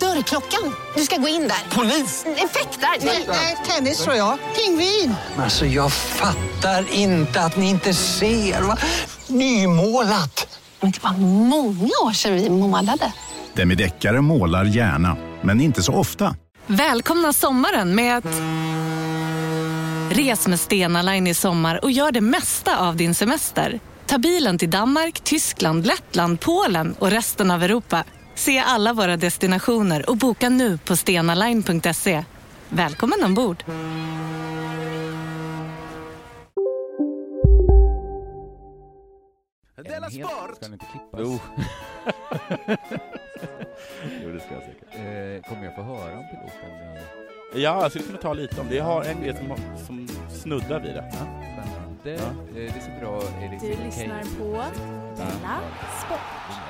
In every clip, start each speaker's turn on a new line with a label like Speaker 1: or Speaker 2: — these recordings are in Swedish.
Speaker 1: Dörrklockan. Du ska gå in där. Polis? Effektar? Nej, tennis tror jag. Pingvin.
Speaker 2: Alltså jag fattar inte att ni inte ser. Va? Nymålat!
Speaker 3: Men det var många år sedan vi målade.
Speaker 4: Demideckare målar gärna, men inte så ofta.
Speaker 5: Välkomna sommaren med att... Res med Stena Line i sommar och gör det mesta av din semester. Ta bilen till Danmark, Tyskland, Lettland, Polen och resten av Europa. Se alla våra destinationer och boka nu på stenaline.se. Välkommen ombord!
Speaker 6: Della Sport! Ska den inte klippas?
Speaker 7: Jo. jo, det ska jag säkert.
Speaker 6: Eh, kommer jag få höra om piloten?
Speaker 7: Ja, alltså, jag skulle kunna ta lite om det. Jag har en grej som, som snuddar vid det.
Speaker 6: Spännande.
Speaker 7: Ja.
Speaker 6: Eh, det ser bra Elis
Speaker 8: Du lyssnar på Della Sport.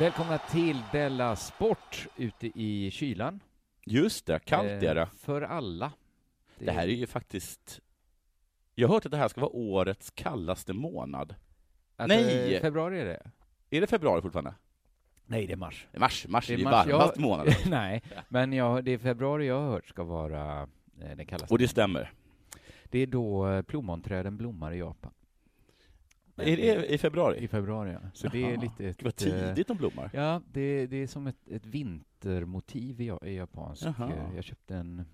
Speaker 6: Välkomna till Della Sport ute i kylan.
Speaker 7: Just det, kallt är det.
Speaker 6: Eh, För alla.
Speaker 7: Det här är ju faktiskt... Jag har hört att det här ska vara årets kallaste månad.
Speaker 6: Att,
Speaker 7: Nej!
Speaker 6: eh, Februari är det.
Speaker 7: Är det februari fortfarande?
Speaker 6: Nej, det är mars.
Speaker 7: Mars, mars
Speaker 6: Det är
Speaker 7: det är ju
Speaker 6: mars, ja.
Speaker 7: varmast månad.
Speaker 6: Nej, men jag, det är februari jag har hört ska vara eh, den kallaste.
Speaker 7: Och det stämmer.
Speaker 6: Det är då eh, plommonträden blommar i Japan. Men
Speaker 7: Är det i
Speaker 6: I
Speaker 7: februari?
Speaker 6: februari, ja. Så det är
Speaker 7: Jaha.
Speaker 6: lite ett...
Speaker 7: Gud, vad
Speaker 6: eh,
Speaker 7: tidigt de blommar.
Speaker 6: Ja, det, det är som ett, ett vintermotiv i, ja- i japansk.
Speaker 7: Jaha.
Speaker 6: eh, Jag köpte en,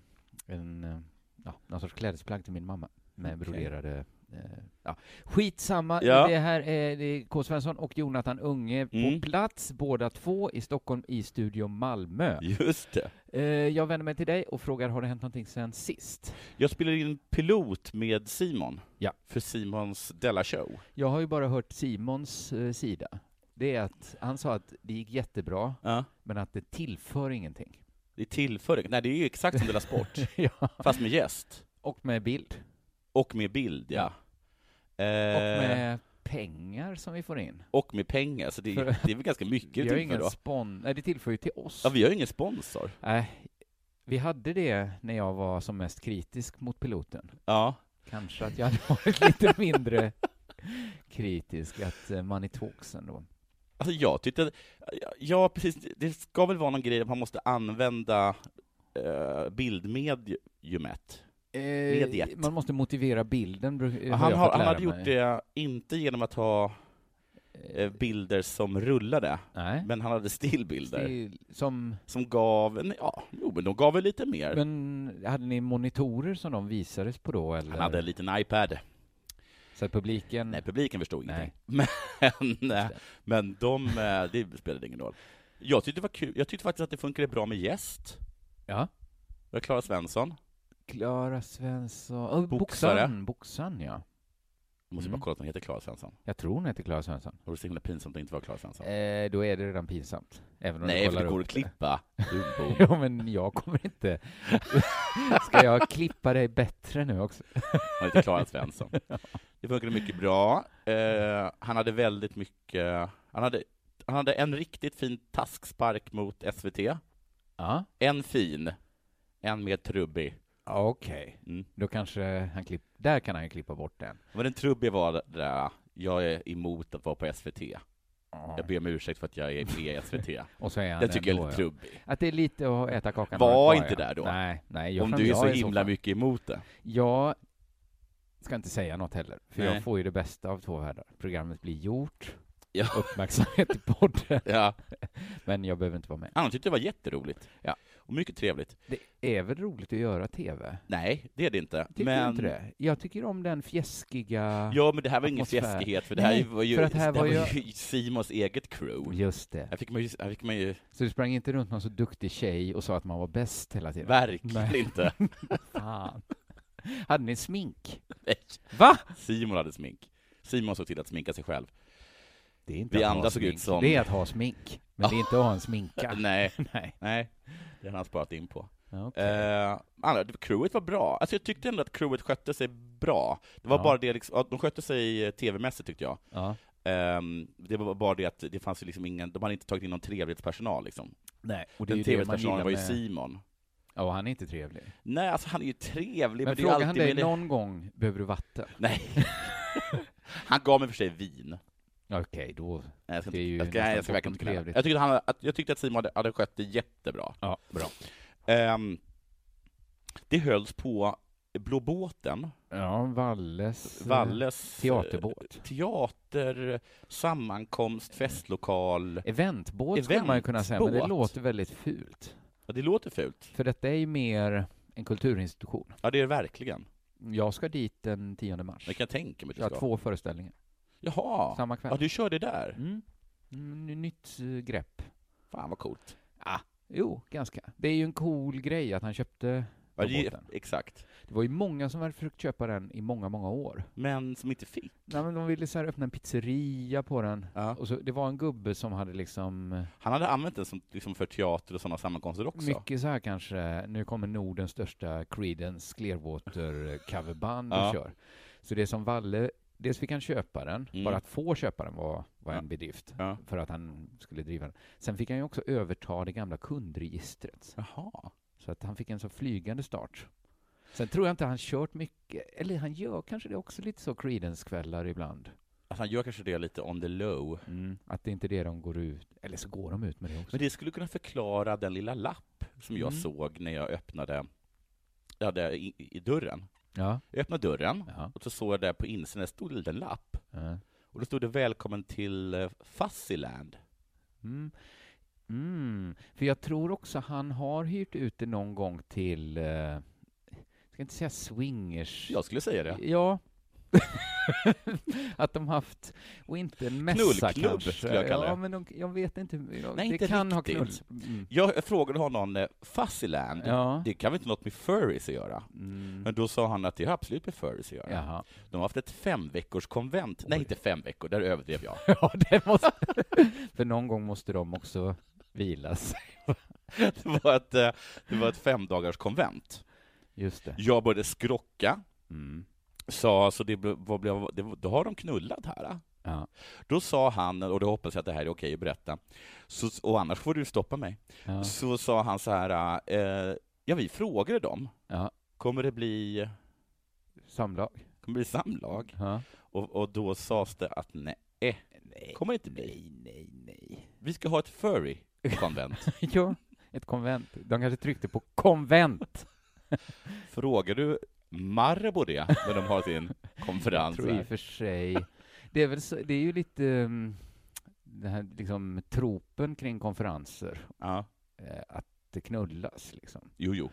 Speaker 6: en eh, ja, någon sorts klädesplagg till min mamma med
Speaker 7: Okej.
Speaker 6: broderade eh, Ja. Skitsamma,
Speaker 7: Ja.
Speaker 6: det här är, det är K. Svensson och Jonathan Unge
Speaker 7: Mm.
Speaker 6: på plats, båda två i Stockholm i Studio Malmö.
Speaker 7: Just det.
Speaker 6: Eh, jag vänder mig till dig och frågar, har det hänt någonting sen sist?
Speaker 7: Jag spelar in en pilot med Simon.
Speaker 6: Ja.
Speaker 7: För Simons Della Show.
Speaker 6: Jag har ju bara hört Simons eh, sida. Det är att han sa att det gick jättebra,
Speaker 7: Ja.
Speaker 6: men att det tillför ingenting.
Speaker 7: Det tillför Nej, det är ju exakt som Della Sport.
Speaker 6: ja.
Speaker 7: fast med gäst.
Speaker 6: Och med bild.
Speaker 7: Och med bild, ja. Eh,
Speaker 6: Och med pengar som vi får in.
Speaker 7: och med pengar, så det,
Speaker 6: För-
Speaker 7: det är väl ganska mycket
Speaker 6: Vi har
Speaker 7: det
Speaker 6: ju
Speaker 7: ingen
Speaker 6: ingen
Speaker 7: då.
Speaker 6: spon... Nej, det tillför ju till oss.
Speaker 7: Ja, vi har ju ingen sponsor.
Speaker 6: Nej, vi hade det när jag var som mest kritisk mot piloten.
Speaker 7: Ja.
Speaker 6: Kanske att jag hade varit lite mindre kritisk att eh, man är talksen då.
Speaker 7: Alltså jag tyckte, ja precis, det ska väl vara någon grej att man måste använda eh, bildmediumet. Mediet.
Speaker 6: Eh, man måste motivera bilden, bru- har
Speaker 7: Han,
Speaker 6: jag
Speaker 7: har,
Speaker 6: fått
Speaker 7: han
Speaker 6: lära
Speaker 7: hade gjort
Speaker 6: mig.
Speaker 7: det, inte genom att ha eh,
Speaker 6: Eh,
Speaker 7: bilder som rullade,
Speaker 6: Nej.
Speaker 7: men han hade stillbilder
Speaker 6: Stil- Som,
Speaker 7: som gav, en- ja, jo men de gav väl lite mer.
Speaker 6: men hade ni monitorer som de visades på då, eller?
Speaker 7: han hade en liten iPad.
Speaker 6: Så att publiken...
Speaker 7: Nej, publiken förstod
Speaker 6: Nej.
Speaker 7: ingenting. Men, eh, men de, eh, det spelade ingen roll. Jag tyckte det var kul, jag tyckte faktiskt att det funkade bra med gäst.
Speaker 6: Ja.
Speaker 7: Det var Klara Svensson.
Speaker 6: Klara Svensson... Oh,
Speaker 7: Boxare.
Speaker 6: boxaren, boxaren, ja.
Speaker 7: Jag måste
Speaker 6: Mm.
Speaker 7: bara kolla att hon heter Klara Svensson.
Speaker 6: Jag tror hon heter Klara Svensson.
Speaker 7: Det vore så himla pinsamt att inte vara Klara Svensson.
Speaker 6: Eh, då är det redan pinsamt. Även om
Speaker 7: Nej,
Speaker 6: du
Speaker 7: för
Speaker 6: kollar
Speaker 7: det går
Speaker 6: upp
Speaker 7: att klippa. Dumbo.
Speaker 6: Jo, men jag kommer inte... Ska jag klippa dig bättre nu också?
Speaker 7: Hon heter Klara Svensson. Det funkade mycket bra. Eh, han hade väldigt mycket, han hade, han hade en riktigt fin taskspark mot SVT.
Speaker 6: Ja.
Speaker 7: En fin, en mer trubbig.
Speaker 6: Okej.
Speaker 7: Mm.
Speaker 6: Då kanske han klipp... Där kan han ju klippa bort den.
Speaker 7: Men den trubbiga var det där, jag är emot att vara på SVT. Jag ber om ursäkt för att jag är med i SVT.
Speaker 6: Och så är han
Speaker 7: Den tycker jag är
Speaker 6: ändå,
Speaker 7: lite
Speaker 6: ja.
Speaker 7: trubbig.
Speaker 6: Att det är lite att äta kakan
Speaker 7: Var
Speaker 6: kvar,
Speaker 7: inte
Speaker 6: ja.
Speaker 7: där då.
Speaker 6: Nej, nej. jag
Speaker 7: Om
Speaker 6: fan,
Speaker 7: du är
Speaker 6: jag
Speaker 7: så
Speaker 6: i
Speaker 7: himla
Speaker 6: fall.
Speaker 7: mycket emot det.
Speaker 6: Jag ska inte säga något heller, för
Speaker 7: Nej.
Speaker 6: jag får ju det bästa av två världar. Programmet blir gjort,
Speaker 7: Ja.
Speaker 6: uppmärksamhet i podden,
Speaker 7: Ja.
Speaker 6: men jag behöver inte vara med.
Speaker 7: Han tyckte det var jätteroligt.
Speaker 6: Ja.
Speaker 7: Och mycket trevligt.
Speaker 6: Det är väl roligt att göra TV?
Speaker 7: Nej, det är det inte.
Speaker 6: Tycker
Speaker 7: men...
Speaker 6: du inte det? Jag tycker om den fjäskiga...
Speaker 7: Ja, men det här var ingen
Speaker 6: Atmosfär.
Speaker 7: fjäskighet, för det här
Speaker 6: Nej,
Speaker 7: var ju,
Speaker 6: för att
Speaker 7: det
Speaker 6: här
Speaker 7: här
Speaker 6: var
Speaker 7: var
Speaker 6: ju-
Speaker 7: ju Simons eget crew.
Speaker 6: Just det.
Speaker 7: Här fick man ju, här fick man ju
Speaker 6: Så du sprang inte runt någon så duktig tjej och sa att man var bäst hela tiden?
Speaker 7: verkligen
Speaker 6: Nej.
Speaker 7: inte.
Speaker 6: Fan. Hade ni smink?
Speaker 7: Nej.
Speaker 6: Va?
Speaker 7: Simon hade smink. Simon såg till att sminka sig själv.
Speaker 6: Det är inte
Speaker 7: Vi
Speaker 6: att ha
Speaker 7: andra såg ut
Speaker 6: smink.
Speaker 7: som-
Speaker 6: Det är att ha smink, men det är inte att ha en sminka.
Speaker 7: Nej,
Speaker 6: Ah. Nej.
Speaker 7: nej. Det har han sparat in på.
Speaker 6: Ja, okej.
Speaker 7: Eh, annars, crewet var bra. Alltså jag tyckte ändå att crewet skötte sig bra. Det var
Speaker 6: Ja.
Speaker 7: bara det, liksom, att de skötte sig eh, tv-mässigt tyckte jag.
Speaker 6: ja.
Speaker 7: Ehm, det var bara det att det fanns ju liksom ingen, de hade inte tagit in någon trevlighetspersonal liksom.
Speaker 6: Nej, och det är
Speaker 7: Den
Speaker 6: ju det man
Speaker 7: trevlighetspersonalen
Speaker 6: gillar
Speaker 7: var ju
Speaker 6: med...
Speaker 7: Simon.
Speaker 6: Ja, och han är inte trevlig.
Speaker 7: Nej, alltså han är ju
Speaker 6: Men
Speaker 7: trevlig, men, det är ju
Speaker 6: frågar han
Speaker 7: alltid...
Speaker 6: dig
Speaker 7: med det-
Speaker 6: någon gång, behöver du vatten?
Speaker 7: Nej. han gav mig för sig vin.
Speaker 6: Ja, Okej, då...
Speaker 7: Nej, jag ska,
Speaker 6: Det är
Speaker 7: inte,
Speaker 6: ju
Speaker 7: jag ska,
Speaker 6: nästan
Speaker 7: nej, jag ska verkligen inte
Speaker 6: bortom
Speaker 7: gnälla. jag tyckte, han, att, jag tyckte att Simon hade, hade skött det jättebra.
Speaker 6: Ja, bra.
Speaker 7: Ehm, det hölls på Blå båten,
Speaker 6: Ja, Valles... eh,
Speaker 7: Valles
Speaker 6: Teaterbåt.
Speaker 7: eh, teater, sammankomst, festlokal.
Speaker 6: Eventbåt skulle man ju kunna säga, men det
Speaker 7: Eventbåt.
Speaker 6: låter väldigt fult.
Speaker 7: Ja, det låter fult.
Speaker 6: För detta är ju mer en kulturinstitution.
Speaker 7: Ja, det är det verkligen.
Speaker 6: Jag ska dit den 10 mars.
Speaker 7: Det kan jag tänka mig att
Speaker 6: Jag
Speaker 7: du
Speaker 6: har
Speaker 7: ska.
Speaker 6: två föreställningar
Speaker 7: Jaha,
Speaker 6: samma kväll.
Speaker 7: ja, du kör det där.
Speaker 6: Mm. Mm, ny- nytt eh, grepp.
Speaker 7: Fan vad coolt.
Speaker 6: Jo, ganska. Det är ju en cool grej att han köpte
Speaker 7: Ja, det,
Speaker 6: båten.
Speaker 7: exakt.
Speaker 6: Det var ju många som hade försökt köpa den i många, många år.
Speaker 7: Men som inte fick.
Speaker 6: Nej, men de ville så här öppna en pizzeria på den.
Speaker 7: Ja.
Speaker 6: Och så, det var en gubbe som hade liksom eh,
Speaker 7: Han hade använt den som, liksom för teater och sådana sammankomster också.
Speaker 6: mycket så här kanske, nu kommer Nordens största Creedence Clearwater eh, coverband
Speaker 7: Ja.
Speaker 6: och kör. Så det som Valle, dels fick han köpa den,
Speaker 7: Mm.
Speaker 6: bara att få köpa den var, var
Speaker 7: Ja.
Speaker 6: en bedrift
Speaker 7: Ja.
Speaker 6: för att han skulle driva den. Sen fick han ju också överta det gamla kundregistret.
Speaker 7: Jaha.
Speaker 6: Så att han fick en så flygande start. Sen tror jag inte han kört mycket, eller han gör kanske det också lite så Creedence-kvällar ibland.
Speaker 7: Alltså han gör kanske det lite on the low.
Speaker 6: Att det inte är det de går ut, eller så går de ut med det också.
Speaker 7: Mm. Men det skulle kunna förklara den lilla lapp som jag
Speaker 6: Mm.
Speaker 7: såg när jag öppnade ja, där i, i dörren.
Speaker 6: Ja.
Speaker 7: Jag öppnade dörren
Speaker 6: Ja.
Speaker 7: och så såg jag där på insidan, det stod en liten lapp.
Speaker 6: ja.
Speaker 7: Och då stod det ”Välkommen till eh, Fuzzyland”.
Speaker 6: Mm. Mm. För jag tror också han har hyrt ut det någon gång till, eh, jag ska inte säga swingers.
Speaker 7: Jag skulle säga det.
Speaker 6: Ja. att de haft, och inte en mässa
Speaker 7: Knullklubb
Speaker 6: kanske.
Speaker 7: skulle jag kalla
Speaker 6: ja,
Speaker 7: det.
Speaker 6: men de, jag vet inte. Jag,
Speaker 7: Nej,
Speaker 6: det
Speaker 7: inte
Speaker 6: kan
Speaker 7: riktigt.
Speaker 6: ha knull. Mm.
Speaker 7: Jag frågade honom eh, ”Fuzzyland”,
Speaker 6: Ja.
Speaker 7: det kan väl inte något med furries att göra?
Speaker 6: Mm.
Speaker 7: Men då sa han att det har absolut med furries att göra.
Speaker 6: Jaha.
Speaker 7: De har haft ett fem veckors konvent. Nej, inte fem veckor, där överdrev jag.
Speaker 6: Ja, det måste... För någon gång måste de också vilas.
Speaker 7: Det var ett, eh, det var ett fem dagars konvent.
Speaker 6: Just det.
Speaker 7: Jag började skrocka,
Speaker 6: Mm.
Speaker 7: sa, så det, blev- vad blev, det, då har de knullat här. eh?
Speaker 6: Ja.
Speaker 7: Då sa han, och det hoppas jag att det här är okej att berätta, så, och annars får du stoppa mig,
Speaker 6: Ja.
Speaker 7: så sa han så här, eh, ja vi frågade dem,
Speaker 6: Ja.
Speaker 7: kommer det bli,
Speaker 6: Samlag.
Speaker 7: kommer det bli samlag?
Speaker 6: Ja.
Speaker 7: Och, och då sades det att nej, kommer det inte bli.
Speaker 6: Eh. Nej, nej, nej.
Speaker 7: Vi ska ha ett furry-konvent.
Speaker 6: Ja, ett konvent. De kanske tryckte på konvent.
Speaker 7: Frågar du Marabou det, när de har sin konferens
Speaker 6: tror i och
Speaker 7: här?
Speaker 6: för sig. Det är, väl så, det är ju lite mm, den här liksom, tropen kring konferenser,
Speaker 7: Ja,
Speaker 6: eh, att det knullas liksom.
Speaker 7: jo, jo.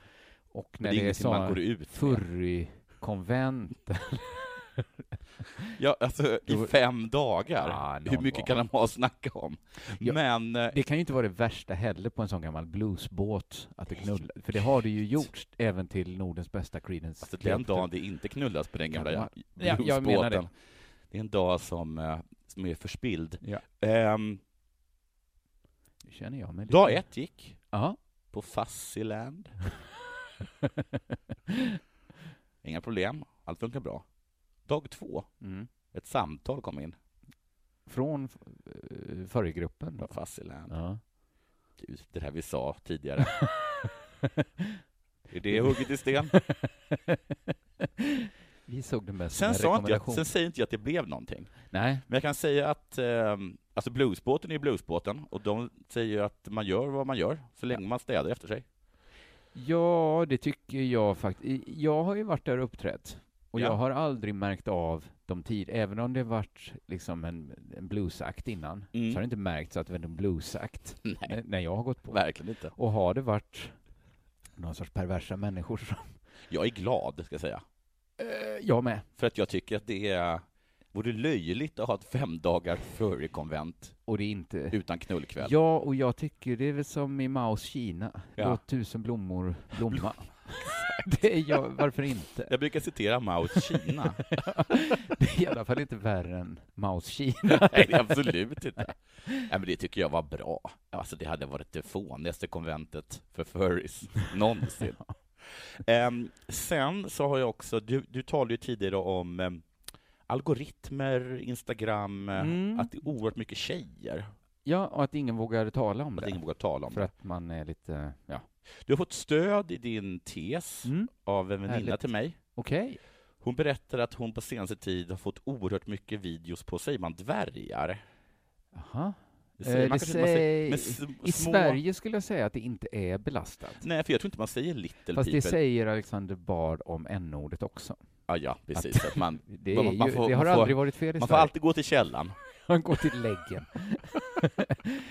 Speaker 6: Och
Speaker 7: Men
Speaker 6: när
Speaker 7: det är
Speaker 6: det är
Speaker 7: ingenting man går
Speaker 6: så
Speaker 7: ut med.
Speaker 6: furry-konvent.
Speaker 7: Ja, alltså i
Speaker 6: Då-
Speaker 7: fem dagar.
Speaker 6: Ja, ah, någon
Speaker 7: Hur mycket
Speaker 6: gång.
Speaker 7: kan de ha att snacka om?
Speaker 6: Ja.
Speaker 7: Men, eh,
Speaker 6: Det kan ju inte vara det värsta heller på en sån gammal bluesbåt, att det knullar. För det har det ju gjorts även till Nordens bästa Creedence.
Speaker 7: alltså den
Speaker 6: Clearwater.
Speaker 7: dagen det inte knullas på den gamla
Speaker 6: Ja,
Speaker 7: ja,
Speaker 6: ja, jag menar det.
Speaker 7: det är en dag som, eh, som är förspilld.
Speaker 6: Ja.
Speaker 7: Ehm,
Speaker 6: Nu känner jag mig lite...
Speaker 7: dag ett gick,
Speaker 6: Ja.
Speaker 7: på Fuzzyland. Inga problem, allt funkar bra. Dag två,
Speaker 6: Mm.
Speaker 7: ett samtal kom in.
Speaker 6: Från eh, furrygruppen då.
Speaker 7: Fuzzyland.
Speaker 6: Ja.
Speaker 7: Gud, det här vi sa tidigare. är det hugget i sten?
Speaker 6: Vi såg det mest
Speaker 7: Sen,
Speaker 6: som
Speaker 7: sa
Speaker 6: en
Speaker 7: inte jag,
Speaker 6: rekommendation.
Speaker 7: sen säger inte jag att det blev någonting.
Speaker 6: Nej,
Speaker 7: Men jag kan säga att eh, alltså bluesbåten är ju bluesbåten och de säger ju att man gör vad man gör så länge man städar efter sig.
Speaker 6: ja det tycker jag faktiskt. Jag har ju varit där och uppträtt och
Speaker 7: Ja.
Speaker 6: jag har aldrig märkt av de tid, även om det varit liksom en, en bluesakt innan,
Speaker 7: Mm.
Speaker 6: så har det inte märkts att det var en bluesakt
Speaker 7: Nej,
Speaker 6: när- när jag har gått på.
Speaker 7: verkligen inte.
Speaker 6: Och har det varit någon sorts perversa människor som...
Speaker 7: Eh. Jag är glad, ska jag säga.
Speaker 6: Eh, Jag med.
Speaker 7: För att jag tycker att det är vore löjligt att ha ett fem dagar furry-konvent
Speaker 6: Och det är inte...
Speaker 7: utan knullkväll.
Speaker 6: Ja, och jag tycker det är väl som i Maos Kina.
Speaker 7: Ja.
Speaker 6: Låt tusen blommor blomma. Det är jag, varför inte?
Speaker 7: Jag brukar citera Maos Kina.
Speaker 6: Det är i alla fall inte värre än Maos Kina.
Speaker 7: Nej, det är absolut inte. Nej, men det tycker jag var bra. Alltså, det hade varit det fånigaste konventet för furries någonsin. Em, sen så har jag också, du, du talade ju tidigare om em, algoritmer, Instagram, eh,
Speaker 6: Mm.
Speaker 7: att det är oerhört mycket tjejer,
Speaker 6: Ja, och att ingen vågar tala om
Speaker 7: att ingen
Speaker 6: det.
Speaker 7: vågar tala om
Speaker 6: För
Speaker 7: det.
Speaker 6: att man är lite, ja.
Speaker 7: Du har fått stöd i din tes
Speaker 6: Mm.
Speaker 7: av en vänninna
Speaker 6: Härligt.
Speaker 7: till mig.
Speaker 6: Okej.
Speaker 7: Hon berättar att hon på senaste tid har fått oerhört mycket videos på, säger man dvärgar?
Speaker 6: Jaha.
Speaker 7: Det
Speaker 6: Eh, det
Speaker 7: kanske inte man
Speaker 6: säg-
Speaker 7: men s-
Speaker 6: I
Speaker 7: små-
Speaker 6: Sverige skulle jag säga att det inte är belastat.
Speaker 7: Nej, för jag tror inte man säger little
Speaker 6: Fast
Speaker 7: people.
Speaker 6: det säger Alexander Bard om n-ordet också.
Speaker 7: Ja, ja, precis. Att man,
Speaker 6: Det, är
Speaker 7: Man- man
Speaker 6: ju,
Speaker 7: får-
Speaker 6: det har
Speaker 7: man får-
Speaker 6: aldrig varit fel i
Speaker 7: man får
Speaker 6: Sverige.
Speaker 7: alltid gå till källan.
Speaker 6: Man går till läggen. jag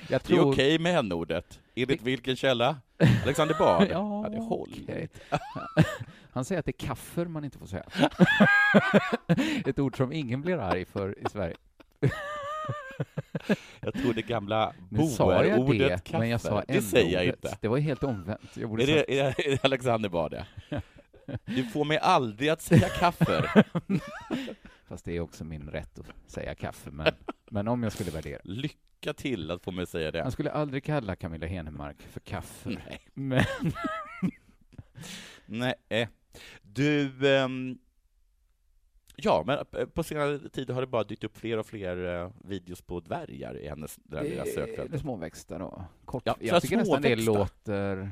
Speaker 7: Det är
Speaker 6: tror...
Speaker 7: okej med n-ordet. Enligt vilken källa? Alexander Bard?
Speaker 6: Ja,
Speaker 7: det håll.
Speaker 6: okej. Han säger att det är kaffer man inte får säga. Ett ord som ingen blir arg för i Sverige.
Speaker 7: Jag tror det gamla
Speaker 6: Nu sa jag
Speaker 7: boerordet
Speaker 6: det, men jag sa
Speaker 7: Det säger jag
Speaker 6: n-ordet.
Speaker 7: inte.
Speaker 6: Det var ju helt omvänt. Jag borde
Speaker 7: Är
Speaker 6: sagt-
Speaker 7: det, är det, är det Alexander Bard, ja? Du får mig aldrig att säga kaffer.
Speaker 6: Fast det är också min rätt att säga kaffe, men, men om jag skulle värdera.
Speaker 7: Lycka till att få mig att säga
Speaker 6: Man
Speaker 7: det.
Speaker 6: skulle aldrig kalla Camilla Henemark för kaffe.
Speaker 7: Nej.
Speaker 6: Men
Speaker 7: Nej. eh. Du... ehm, Ja, men eh, på senare tid har det bara dykt upp fler och fler eh, videos på dvärgar i hennes där lilla sökfält.
Speaker 6: eller småväxta då. Kort,
Speaker 7: Ja, så
Speaker 6: jag tycker nästan det
Speaker 7: småväxta.
Speaker 6: låter...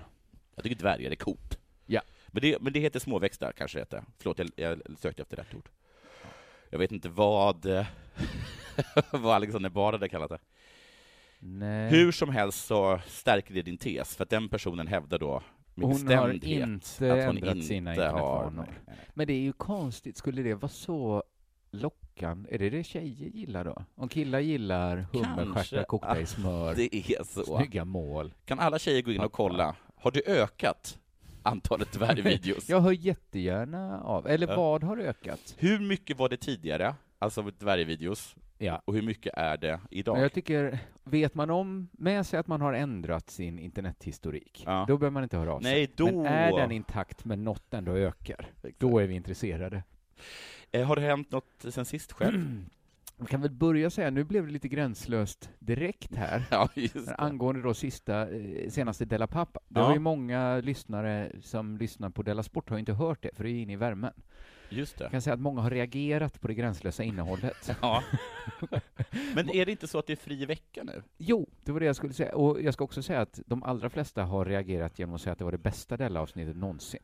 Speaker 7: Jag tycker dvärgar är coolt.
Speaker 6: Ja.
Speaker 7: Men det, men det heter småväxter, kanske det heter. Förlåt, jag, jag sökte efter rätt ord. Jag vet inte vad, eh, vad Alexander Bard hade kallat det.
Speaker 6: Nej.
Speaker 7: Hur som helst så stärker det din tes, för att den personen hävdar då med
Speaker 6: Hon har
Speaker 7: bestämdhet
Speaker 6: inte
Speaker 7: att hon
Speaker 6: ändrat
Speaker 7: inte
Speaker 6: sina
Speaker 7: har...
Speaker 6: internetvanor. Men det är ju konstigt, skulle det vara så lockande? Är det det tjejer gillar då? Om killar gillar hummerstjärtar
Speaker 7: Kanske
Speaker 6: kokta i
Speaker 7: att
Speaker 6: smör,
Speaker 7: Det är så.
Speaker 6: snygga mål.
Speaker 7: Kan alla tjejer gå in och kolla? Har du ökat antalet dvärgvideos?
Speaker 6: Jag hör jättegärna av, eller
Speaker 7: Ja.
Speaker 6: vad har ökat?
Speaker 7: Hur mycket var det tidigare, alltså dvärgvideos,
Speaker 6: Ja.
Speaker 7: och hur mycket är det idag?
Speaker 6: Men jag tycker, vet man om med sig att man har ändrat sin internethistorik,
Speaker 7: Ja.
Speaker 6: då behöver man inte höra av sig.
Speaker 7: Nej, då...
Speaker 6: Men är den intakt men något ändå ökar, då är vi intresserade.
Speaker 7: Eh, Har det hänt något sen sist
Speaker 6: Mm.
Speaker 7: själv?
Speaker 6: Jag kan väl börja säga, nu blev det lite gränslöst direkt här.
Speaker 7: ja, just det.
Speaker 6: Angående då sista, eh, senaste Della Pappa. Det
Speaker 7: Ja.
Speaker 6: var ju många lyssnare som lyssnar på Della Sport har ju inte hört det, för det är ju inne i värmen.
Speaker 7: Just
Speaker 6: Jag
Speaker 7: det.
Speaker 6: kan säga att många har reagerat på det gränslösa innehållet.
Speaker 7: Ja. Men är det inte så att det är fri vecka nu?
Speaker 6: Jo, det var det jag skulle säga. Och jag ska också säga att de allra flesta har reagerat genom att säga att det var det bästa Della-avsnittet någonsin.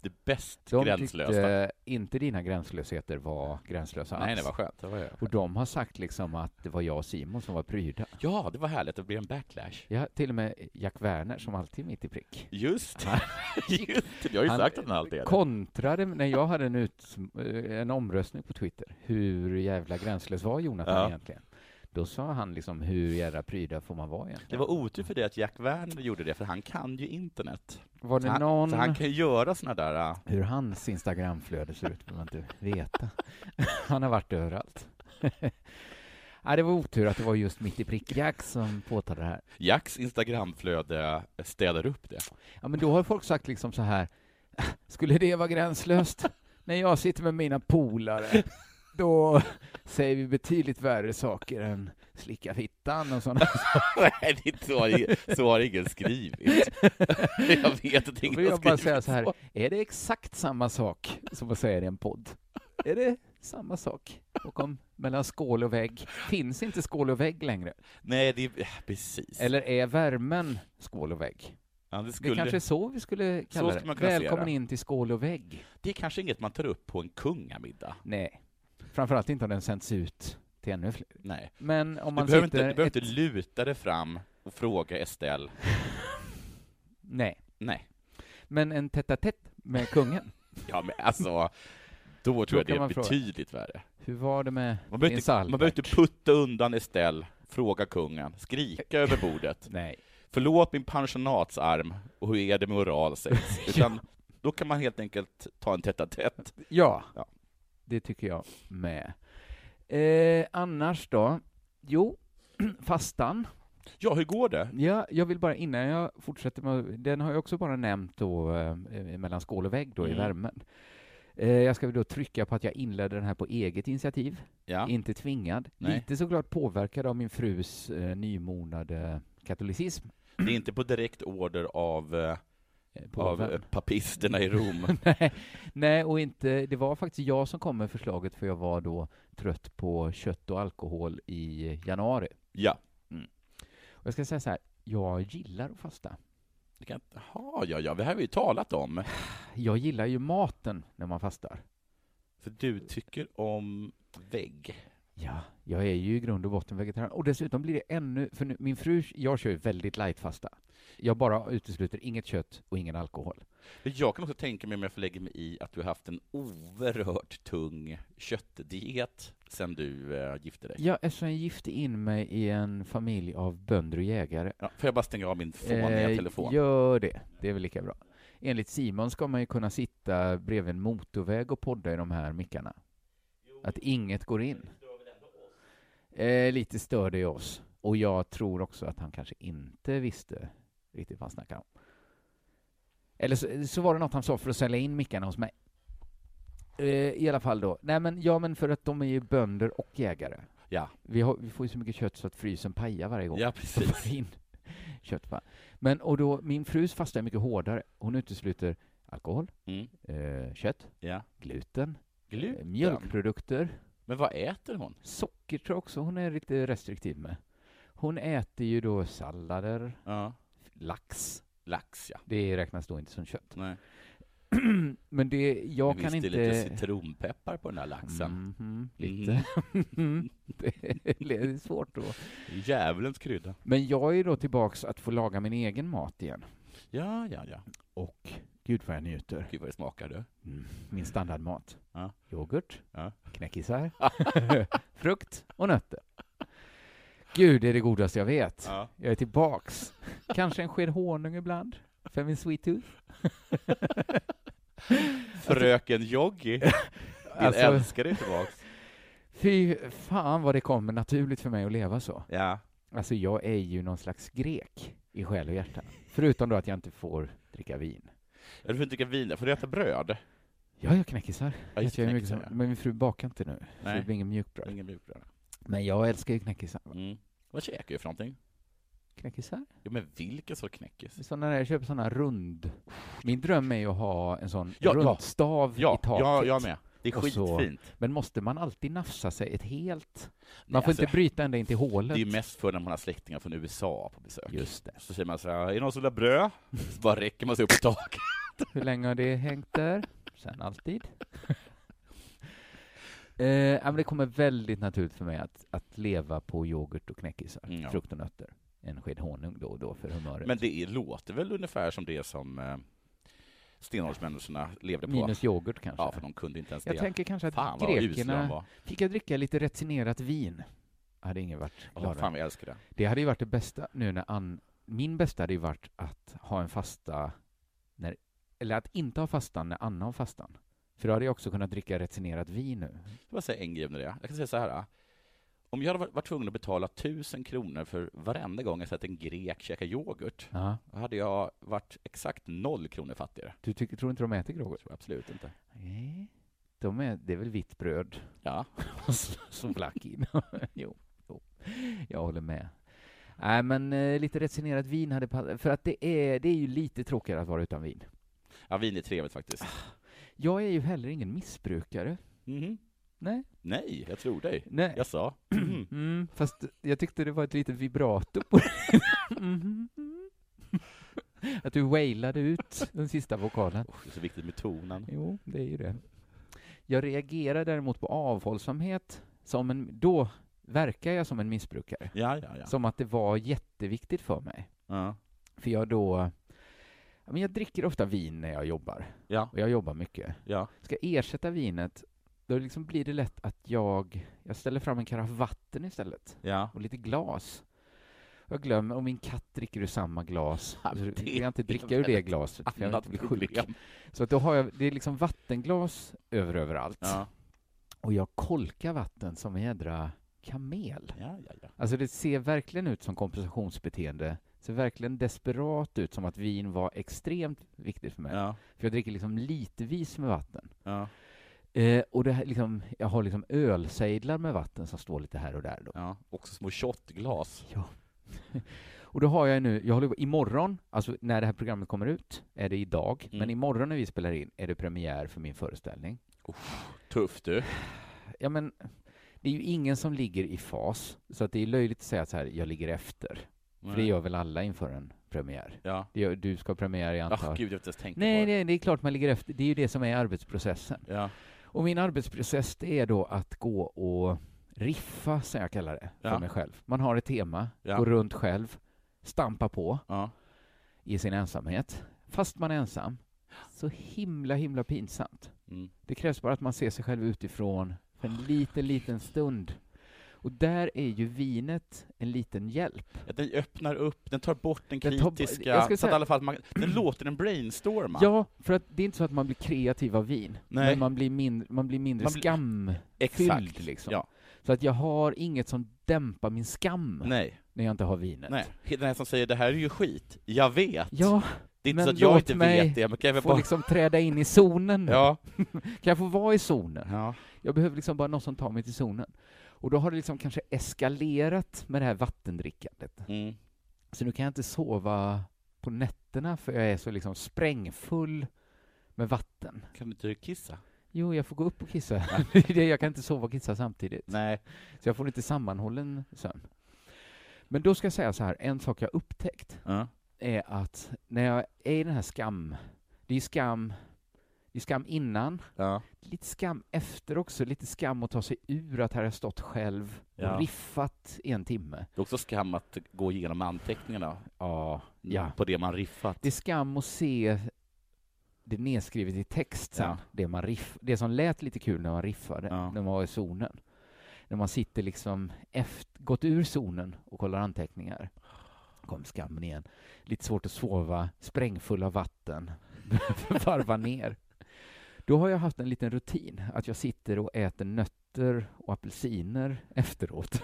Speaker 7: Det bäst
Speaker 6: De
Speaker 7: gränslösa.
Speaker 6: tyckte inte dina gränslösheter var gränslösa
Speaker 7: Nej,
Speaker 6: alls.
Speaker 7: det var skönt. Det var jag.
Speaker 6: Och de har sagt liksom att det var jag och Simon som var pryda.
Speaker 7: Ja, det var härligt. Det blev en backlash.
Speaker 6: Ja, till och med Jack Werner, som alltid är mitt i prick,
Speaker 7: Just det. Just det. Jag har ju
Speaker 6: Han-
Speaker 7: sagt att den alltid är det.
Speaker 6: kontrade när jag hade en, ut, eh, en omröstning på Twitter. Hur jävla gränslös var Jonathan
Speaker 7: Ja.
Speaker 6: egentligen? Då sa han liksom, hur jävla pryda får man vara
Speaker 7: Det
Speaker 6: egentligen?
Speaker 7: var otur för dig att Jack Werner gjorde det, för han kan ju internet.
Speaker 6: Var
Speaker 7: Så
Speaker 6: det
Speaker 7: han,
Speaker 6: någon...
Speaker 7: så han kan ju göra såna där... äh,
Speaker 6: Hur hans Instagramflöde ser ut vill man inte veta. Han har varit överallt. Nej, det var otur att det var just mitt i prick Jack som påtalade det här.
Speaker 7: Jacks Instagramflöde äh, städar upp det.
Speaker 6: Ja, men då har folk sagt liksom så här, skulle det vara gränslöst? När jag sitter med mina polare, då säger vi betydligt värre saker än slicka fittan och sådana
Speaker 7: Nej, det är inte så, har- så har ingen skrivit. Jag vet att
Speaker 6: Då
Speaker 7: ingen
Speaker 6: vill
Speaker 7: har
Speaker 6: jag bara
Speaker 7: skrivit
Speaker 6: säga så här, är det exakt samma sak som att säga det i en podd? Är det samma sak? Och om mellan skål och vägg, finns inte skål och vägg längre?
Speaker 7: Nej, det är... eh, Precis.
Speaker 6: Eller är värmen skål och vägg?
Speaker 7: Ja, det,
Speaker 6: Det
Speaker 7: skulle,
Speaker 6: kanske är så vi skulle kalla
Speaker 7: skulle man
Speaker 6: det.
Speaker 7: kunna se
Speaker 6: Välkommen
Speaker 7: det.
Speaker 6: in till skål och vägg.
Speaker 7: det är kanske inget man tar upp på en kungamiddag.
Speaker 6: Nej, framförallt inte om den sänds ut till ännu fler.
Speaker 7: Nej.
Speaker 6: Men om
Speaker 7: Du
Speaker 6: man
Speaker 7: behöver, inte,
Speaker 6: sitter...
Speaker 7: du behöver
Speaker 6: ett...
Speaker 7: inte luta dig fram och fråga Estelle.
Speaker 6: Nej,
Speaker 7: Nej.
Speaker 6: men en tätt med kungen.
Speaker 7: Ja, men alltså, då tror
Speaker 6: Då
Speaker 7: jag det
Speaker 6: kan
Speaker 7: är
Speaker 6: man fråga.
Speaker 7: betydligt värre.
Speaker 6: Hur var det med
Speaker 7: Man
Speaker 6: din
Speaker 7: behöver, inte, man
Speaker 6: Salberg?
Speaker 7: behöver inte putta undan Estelle, fråga kungen, skrika över bordet.
Speaker 6: Nej.
Speaker 7: Förlåt min pensionatsarm, och hur är det med oralsex? Utan då kan man helt enkelt ta en tätt tätt.
Speaker 6: Ja,
Speaker 7: Ja.
Speaker 6: det tycker jag med. Eh, annars då? Jo, fastan
Speaker 7: Ja, hur går det?
Speaker 6: Ja, jag vill bara innan jag fortsätter med, den har jag också bara nämnt då eh, mellan skål och vägg då i
Speaker 7: Mm.
Speaker 6: värmen. Eh, jag ska väl då trycka på att jag inledde den här på eget initiativ,
Speaker 7: Ja.
Speaker 6: inte tvingad.
Speaker 7: Nej.
Speaker 6: Lite såklart påverkad av min frus eh, nymornade katolicism.
Speaker 7: Det är inte på direkt order av, eh,
Speaker 6: eh, på
Speaker 7: av
Speaker 6: värmen.
Speaker 7: eh, papisterna i Rom.
Speaker 6: Nej, nej, och inte, det var faktiskt jag som kom med förslaget för jag var då trött på kött och alkohol i januari.
Speaker 7: ja.
Speaker 6: Och jag ska säga så här, jag gillar att fasta.
Speaker 7: Det kan- Jaha, ja, ja, det här har vi ju talat om.
Speaker 6: Jag gillar ju maten när man fastar.
Speaker 7: För du tycker om vägg.
Speaker 6: Ja, jag är ju i grund och botten vegetarian. Och dessutom blir det ännu, för nu, min fru, jag kör ju väldigt light-fasta. Jag bara utesluter inget kött och ingen alkohol.
Speaker 7: Men Jag kan också tänka mig, om jag får lägga mig i, att du har haft en oerhört tung köttdiet sen du eh, gifte dig.
Speaker 6: Ja, eftersom jag gifte in mig i en familj av bönder och jägare.
Speaker 7: Ja, får jag bara stänga av min fåniga
Speaker 6: Eh,
Speaker 7: telefon?
Speaker 6: Gör det, det är väl lika bra. Enligt Simon ska man ju kunna sitta bredvid en motorväg och podda i de här mickarna. Att inget går in. Eh, lite stör det oss. Och jag tror också att han kanske inte visste riktigt vad han snackade om. Eller så, så var det något han sa för att sälja in mickarna hos mig. Eh, I alla fall då. Nej men, ja men för att de är ju bönder och jägare.
Speaker 7: Ja.
Speaker 6: Vi, har, vi får ju så mycket kött så att frysen pajar varje gång
Speaker 7: ja, precis.
Speaker 6: stoppar in kött på. Men och då, min frus fasta är mycket hårdare. Hon utesluter alkohol,
Speaker 7: Mm.
Speaker 6: eh, kött,
Speaker 7: Ja.
Speaker 6: gluten, eh,
Speaker 7: Gluten.
Speaker 6: mjölkprodukter,
Speaker 7: Men vad äter hon?
Speaker 6: socker tror jag också hon är lite restriktiv med. Hon äter ju då sallader,
Speaker 7: Ja.
Speaker 6: lax.
Speaker 7: Lax, ja.
Speaker 6: Det räknas då inte som kött.
Speaker 7: Nej.
Speaker 6: Men det, jag
Speaker 7: Men
Speaker 6: kan
Speaker 7: visst,
Speaker 6: inte...
Speaker 7: det är lite citronpeppar på den här laxen.
Speaker 6: Mhm, lite. det är svårt då.
Speaker 7: Djävulens krydda.
Speaker 6: Men jag är då tillbaks att få laga min egen mat igen.
Speaker 7: Ja, ja, ja.
Speaker 6: Och gud vad jag njuter.
Speaker 7: Gud vad det smakar du.
Speaker 6: Mm, min standardmat.
Speaker 7: Ja.
Speaker 6: Yoghurt,
Speaker 7: Ja.
Speaker 6: knäckisar, frukt och nötter. Gud, det är det godaste jag vet.
Speaker 7: Ja.
Speaker 6: Jag är tillbaks. Kanske en sked honung ibland, för min sweet tooth.
Speaker 7: Fröken Joggi. Din
Speaker 6: Alltså-
Speaker 7: älskare är tillbaks.
Speaker 6: Fy fan vad det kommer naturligt för mig att leva så.
Speaker 7: Ja.
Speaker 6: Alltså, jag är ju någon slags grek i själ och hjärta. Förutom då att jag inte får dricka vin.
Speaker 7: Du får inte dricka vin, får du äta bröd?
Speaker 6: Ja, jag knäckisar.
Speaker 7: Ja, just
Speaker 6: Äter jag hur mycket
Speaker 7: knäckisar,
Speaker 6: som-
Speaker 7: ja.
Speaker 6: Men min fru bakar inte nu, så
Speaker 7: Nej. Mm.
Speaker 6: det blir ingen mjukbröd.
Speaker 7: Ingen mjukbröd.
Speaker 6: Men jag älskar ju knäckisar.
Speaker 7: Mm. Vad käkar du för någonting?
Speaker 6: Knäckisar?
Speaker 7: Jo, men vilken sorts knäckis?
Speaker 6: Såna där, jag köper såna rund... Min dröm är ju att ha en sån
Speaker 7: Ja, ja.
Speaker 6: rundstav
Speaker 7: Ja,
Speaker 6: i taket.
Speaker 7: jag, jag med. Det är
Speaker 6: Och så-
Speaker 7: skitfint.
Speaker 6: Men måste man alltid nafsa sig ett helt? Man
Speaker 7: Nej,
Speaker 6: får
Speaker 7: alltså,
Speaker 6: inte bryta ända in till
Speaker 7: Det
Speaker 6: hålet.
Speaker 7: är ju mest för när man har släktingar från USA på besök.
Speaker 6: Just det.
Speaker 7: Så säger man så här, är det någon som vill ha bröd? Så bara räcker man sig upp i taket.
Speaker 6: Hur länge har det hängt där? Sen alltid. eh, ja, men det kommer väldigt naturligt för mig att, att leva på yoghurt och knäckisar,
Speaker 7: Mm, ja.
Speaker 6: frukt och nötter. En sked honung då och då för humöret.
Speaker 7: Men det är, låter väl ungefär som det som eh, stenåldersmänniskorna levde på.
Speaker 6: Minus yoghurt kanske.
Speaker 7: ja, för de kunde inte ens
Speaker 6: jag
Speaker 7: det.
Speaker 6: tänker kanske att
Speaker 7: Fan vad usla de
Speaker 6: grekerna...
Speaker 7: var.
Speaker 6: Fick jag dricka lite retinerat vin? Hade ingen varit
Speaker 7: Ja,
Speaker 6: gladare.
Speaker 7: fan vi älskar det.
Speaker 6: Det hade ju varit det bästa nu när Ann... Min bästa hade ju varit att ha en fasta när... Eller att inte ha fastan när Anna har fastan. För då hade jag också kunnat dricka retinerat vin nu.
Speaker 7: Jag bara säga en grej om det. Jag kan säga så här. ah. Om jag hade varit- varit tvungen att betala tusen kronor för varenda gång jag sett en grek käka yoghurt,
Speaker 6: Ja.
Speaker 7: då hade jag varit exakt noll kronor fattigare.
Speaker 6: Du tycker, tror inte de äter
Speaker 7: Jag
Speaker 6: yoghurt?
Speaker 7: tror absolut inte.
Speaker 6: Nej. De är, det är väl vitt bröd
Speaker 7: Ja.
Speaker 6: som flack in. jo, jo, jag håller med. Nej, men eh, lite retinerat vin hade passat. För att det är, det är ju lite tråkigare att vara utan vin.
Speaker 7: ja, vin är trevligt faktiskt.
Speaker 6: Jag är ju heller ingen missbrukare.
Speaker 7: Mhm.
Speaker 6: Nej.
Speaker 7: Nej, jag tror dig.
Speaker 6: Nej.
Speaker 7: Jag sa. Mhm.
Speaker 6: Mm, fast jag tyckte det var ett litet vibrato på Mhm. Att du wailade ut den sista vokalen.
Speaker 7: Åh, det är så viktigt med tonen.
Speaker 6: Jo, det är ju det. Jag reagerar däremot på avhållsamhet. Som en, då verkar jag som en missbrukare.
Speaker 7: Ja, ja, ja.
Speaker 6: Som att det var jätteviktigt för mig.
Speaker 7: ja.
Speaker 6: För jag då... ja, Men jag dricker ofta vin när jag jobbar.
Speaker 7: Ja.
Speaker 6: Och jag jobbar mycket.
Speaker 7: ja.
Speaker 6: Ska jag ersätta vinet, då liksom blir det lätt att jag... Jag ställer fram en karaff vatten istället
Speaker 7: ja.
Speaker 6: och lite glas. Jag glömmer, och min katt dricker ur samma glas.
Speaker 7: Ja,
Speaker 6: Så
Speaker 7: det
Speaker 6: vill jag inte
Speaker 7: är
Speaker 6: dricka ur det
Speaker 7: väldigt
Speaker 6: glaset, för jag vill
Speaker 7: Annat
Speaker 6: inte bli sjuk.
Speaker 7: problem.
Speaker 6: Så att då har jag, det är liksom vattenglas över överallt.
Speaker 7: Ja.
Speaker 6: Och jag kolkar vatten som en jädra kamel.
Speaker 7: Ja, ja, ja.
Speaker 6: Alltså det ser verkligen ut som kompensationsbeteende. Det ser verkligen desperat ut som att vin var extremt viktigt för mig.
Speaker 7: ja,
Speaker 6: För jag dricker liksom litevis med vatten.
Speaker 7: ja,
Speaker 6: Eh, och det här, liksom, jag har liksom ölsejdlar med vatten som står lite här och där. Då.
Speaker 7: ja. Också små shotglas.
Speaker 6: Och då har jag nu, jag håller på, imorgon, alltså när det här programmet kommer ut, är det idag,
Speaker 7: Mm.
Speaker 6: men imorgon när vi spelar in är det premiär för min föreställning.
Speaker 7: Tufft du.
Speaker 6: Ja men, det är ju ingen som ligger i fas, så att det är löjligt att säga så här, jag ligger efter. För det gör väl alla inför en premiär.
Speaker 7: Ja.
Speaker 6: Det gör, du ska ha premiär, jag antar.
Speaker 7: Ah, gud, jag har inte ens tänkt
Speaker 6: nej,
Speaker 7: på det.
Speaker 6: nej, det är klart man ligger efter. Det är ju det som är arbetsprocessen.
Speaker 7: Ja,
Speaker 6: Och min arbetsprocess det är då att gå och riffa, som jag kallar det, för
Speaker 7: Ja.
Speaker 6: mig själv. Man har ett tema,
Speaker 7: Ja.
Speaker 6: går runt själv, stampa på
Speaker 7: ja,
Speaker 6: i sin ensamhet. Fast man är ensam. Så himla, himla pinsamt.
Speaker 7: mm.
Speaker 6: Det krävs bara att man ser sig själv utifrån för en liten, liten stund. Och där är ju vinet en liten hjälp.
Speaker 7: Att Den öppnar upp, den tar bort den
Speaker 6: Den tar bo-
Speaker 7: kritiska,
Speaker 6: jag ska
Speaker 7: så att
Speaker 6: säga-
Speaker 7: i alla fall man, den låter den brainstorma.
Speaker 6: Ja, för att det är inte så att man blir kreativ av vin,
Speaker 7: Nej.
Speaker 6: men man blir, min, man blir mindre
Speaker 7: Man blir-
Speaker 6: skamfylld. Liksom.
Speaker 7: Ja.
Speaker 6: Så att jag har inget som dämpar min skam
Speaker 7: Nej,
Speaker 6: när jag inte har vinet.
Speaker 7: nej. Den här som säger ”det här är ju skit”, jag vet.
Speaker 6: Ja,
Speaker 7: det är inte
Speaker 6: men
Speaker 7: så att jag
Speaker 6: låt
Speaker 7: inte
Speaker 6: mig
Speaker 7: vet det, men kan jag väl
Speaker 6: får
Speaker 7: bara...
Speaker 6: liksom träda in i zonen. nu.
Speaker 7: Ja.
Speaker 6: Kan jag få vara i zonen?
Speaker 7: ja.
Speaker 6: Jag behöver liksom bara någon som tar mig till zonen. Och då har det liksom kanske eskalerat med det här vattendrickandet.
Speaker 7: Mm.
Speaker 6: Så nu kan jag inte sova på nätterna för jag är så liksom sprängfull med vatten.
Speaker 7: Kan du inte kissa?
Speaker 6: Jo, jag får gå upp och kissa. Det är det, jag kan inte sova och kissa samtidigt.
Speaker 7: Nej.
Speaker 6: Så jag får inte sammanhållen sömn. Men då ska jag säga så här, en sak jag upptäckt
Speaker 7: Ja.
Speaker 6: är att när jag är i den här skam, det är ju skam, det är skam innan,
Speaker 7: Ja.
Speaker 6: lite skam efter också, lite skam att ta sig ur att här har jag stått själv och
Speaker 7: Ja.
Speaker 6: riffat i en timme.
Speaker 7: Det är också skam att gå igenom anteckningarna
Speaker 6: Ja, ja.
Speaker 7: på det man riffat.
Speaker 6: Det är skam att se det nedskrivet i text sen,
Speaker 7: Ja.
Speaker 6: det, man riff, det som lät lite kul när man riffade,
Speaker 7: Ja.
Speaker 6: när man var i zonen. När man sitter liksom efter, gått ur zonen och kollar anteckningar. Kom skammen igen. Lite svårt att sova, sprängfull av vatten, behöver varva ner. Då har jag haft en liten rutin, att jag sitter och äter nötter och apelsiner efteråt.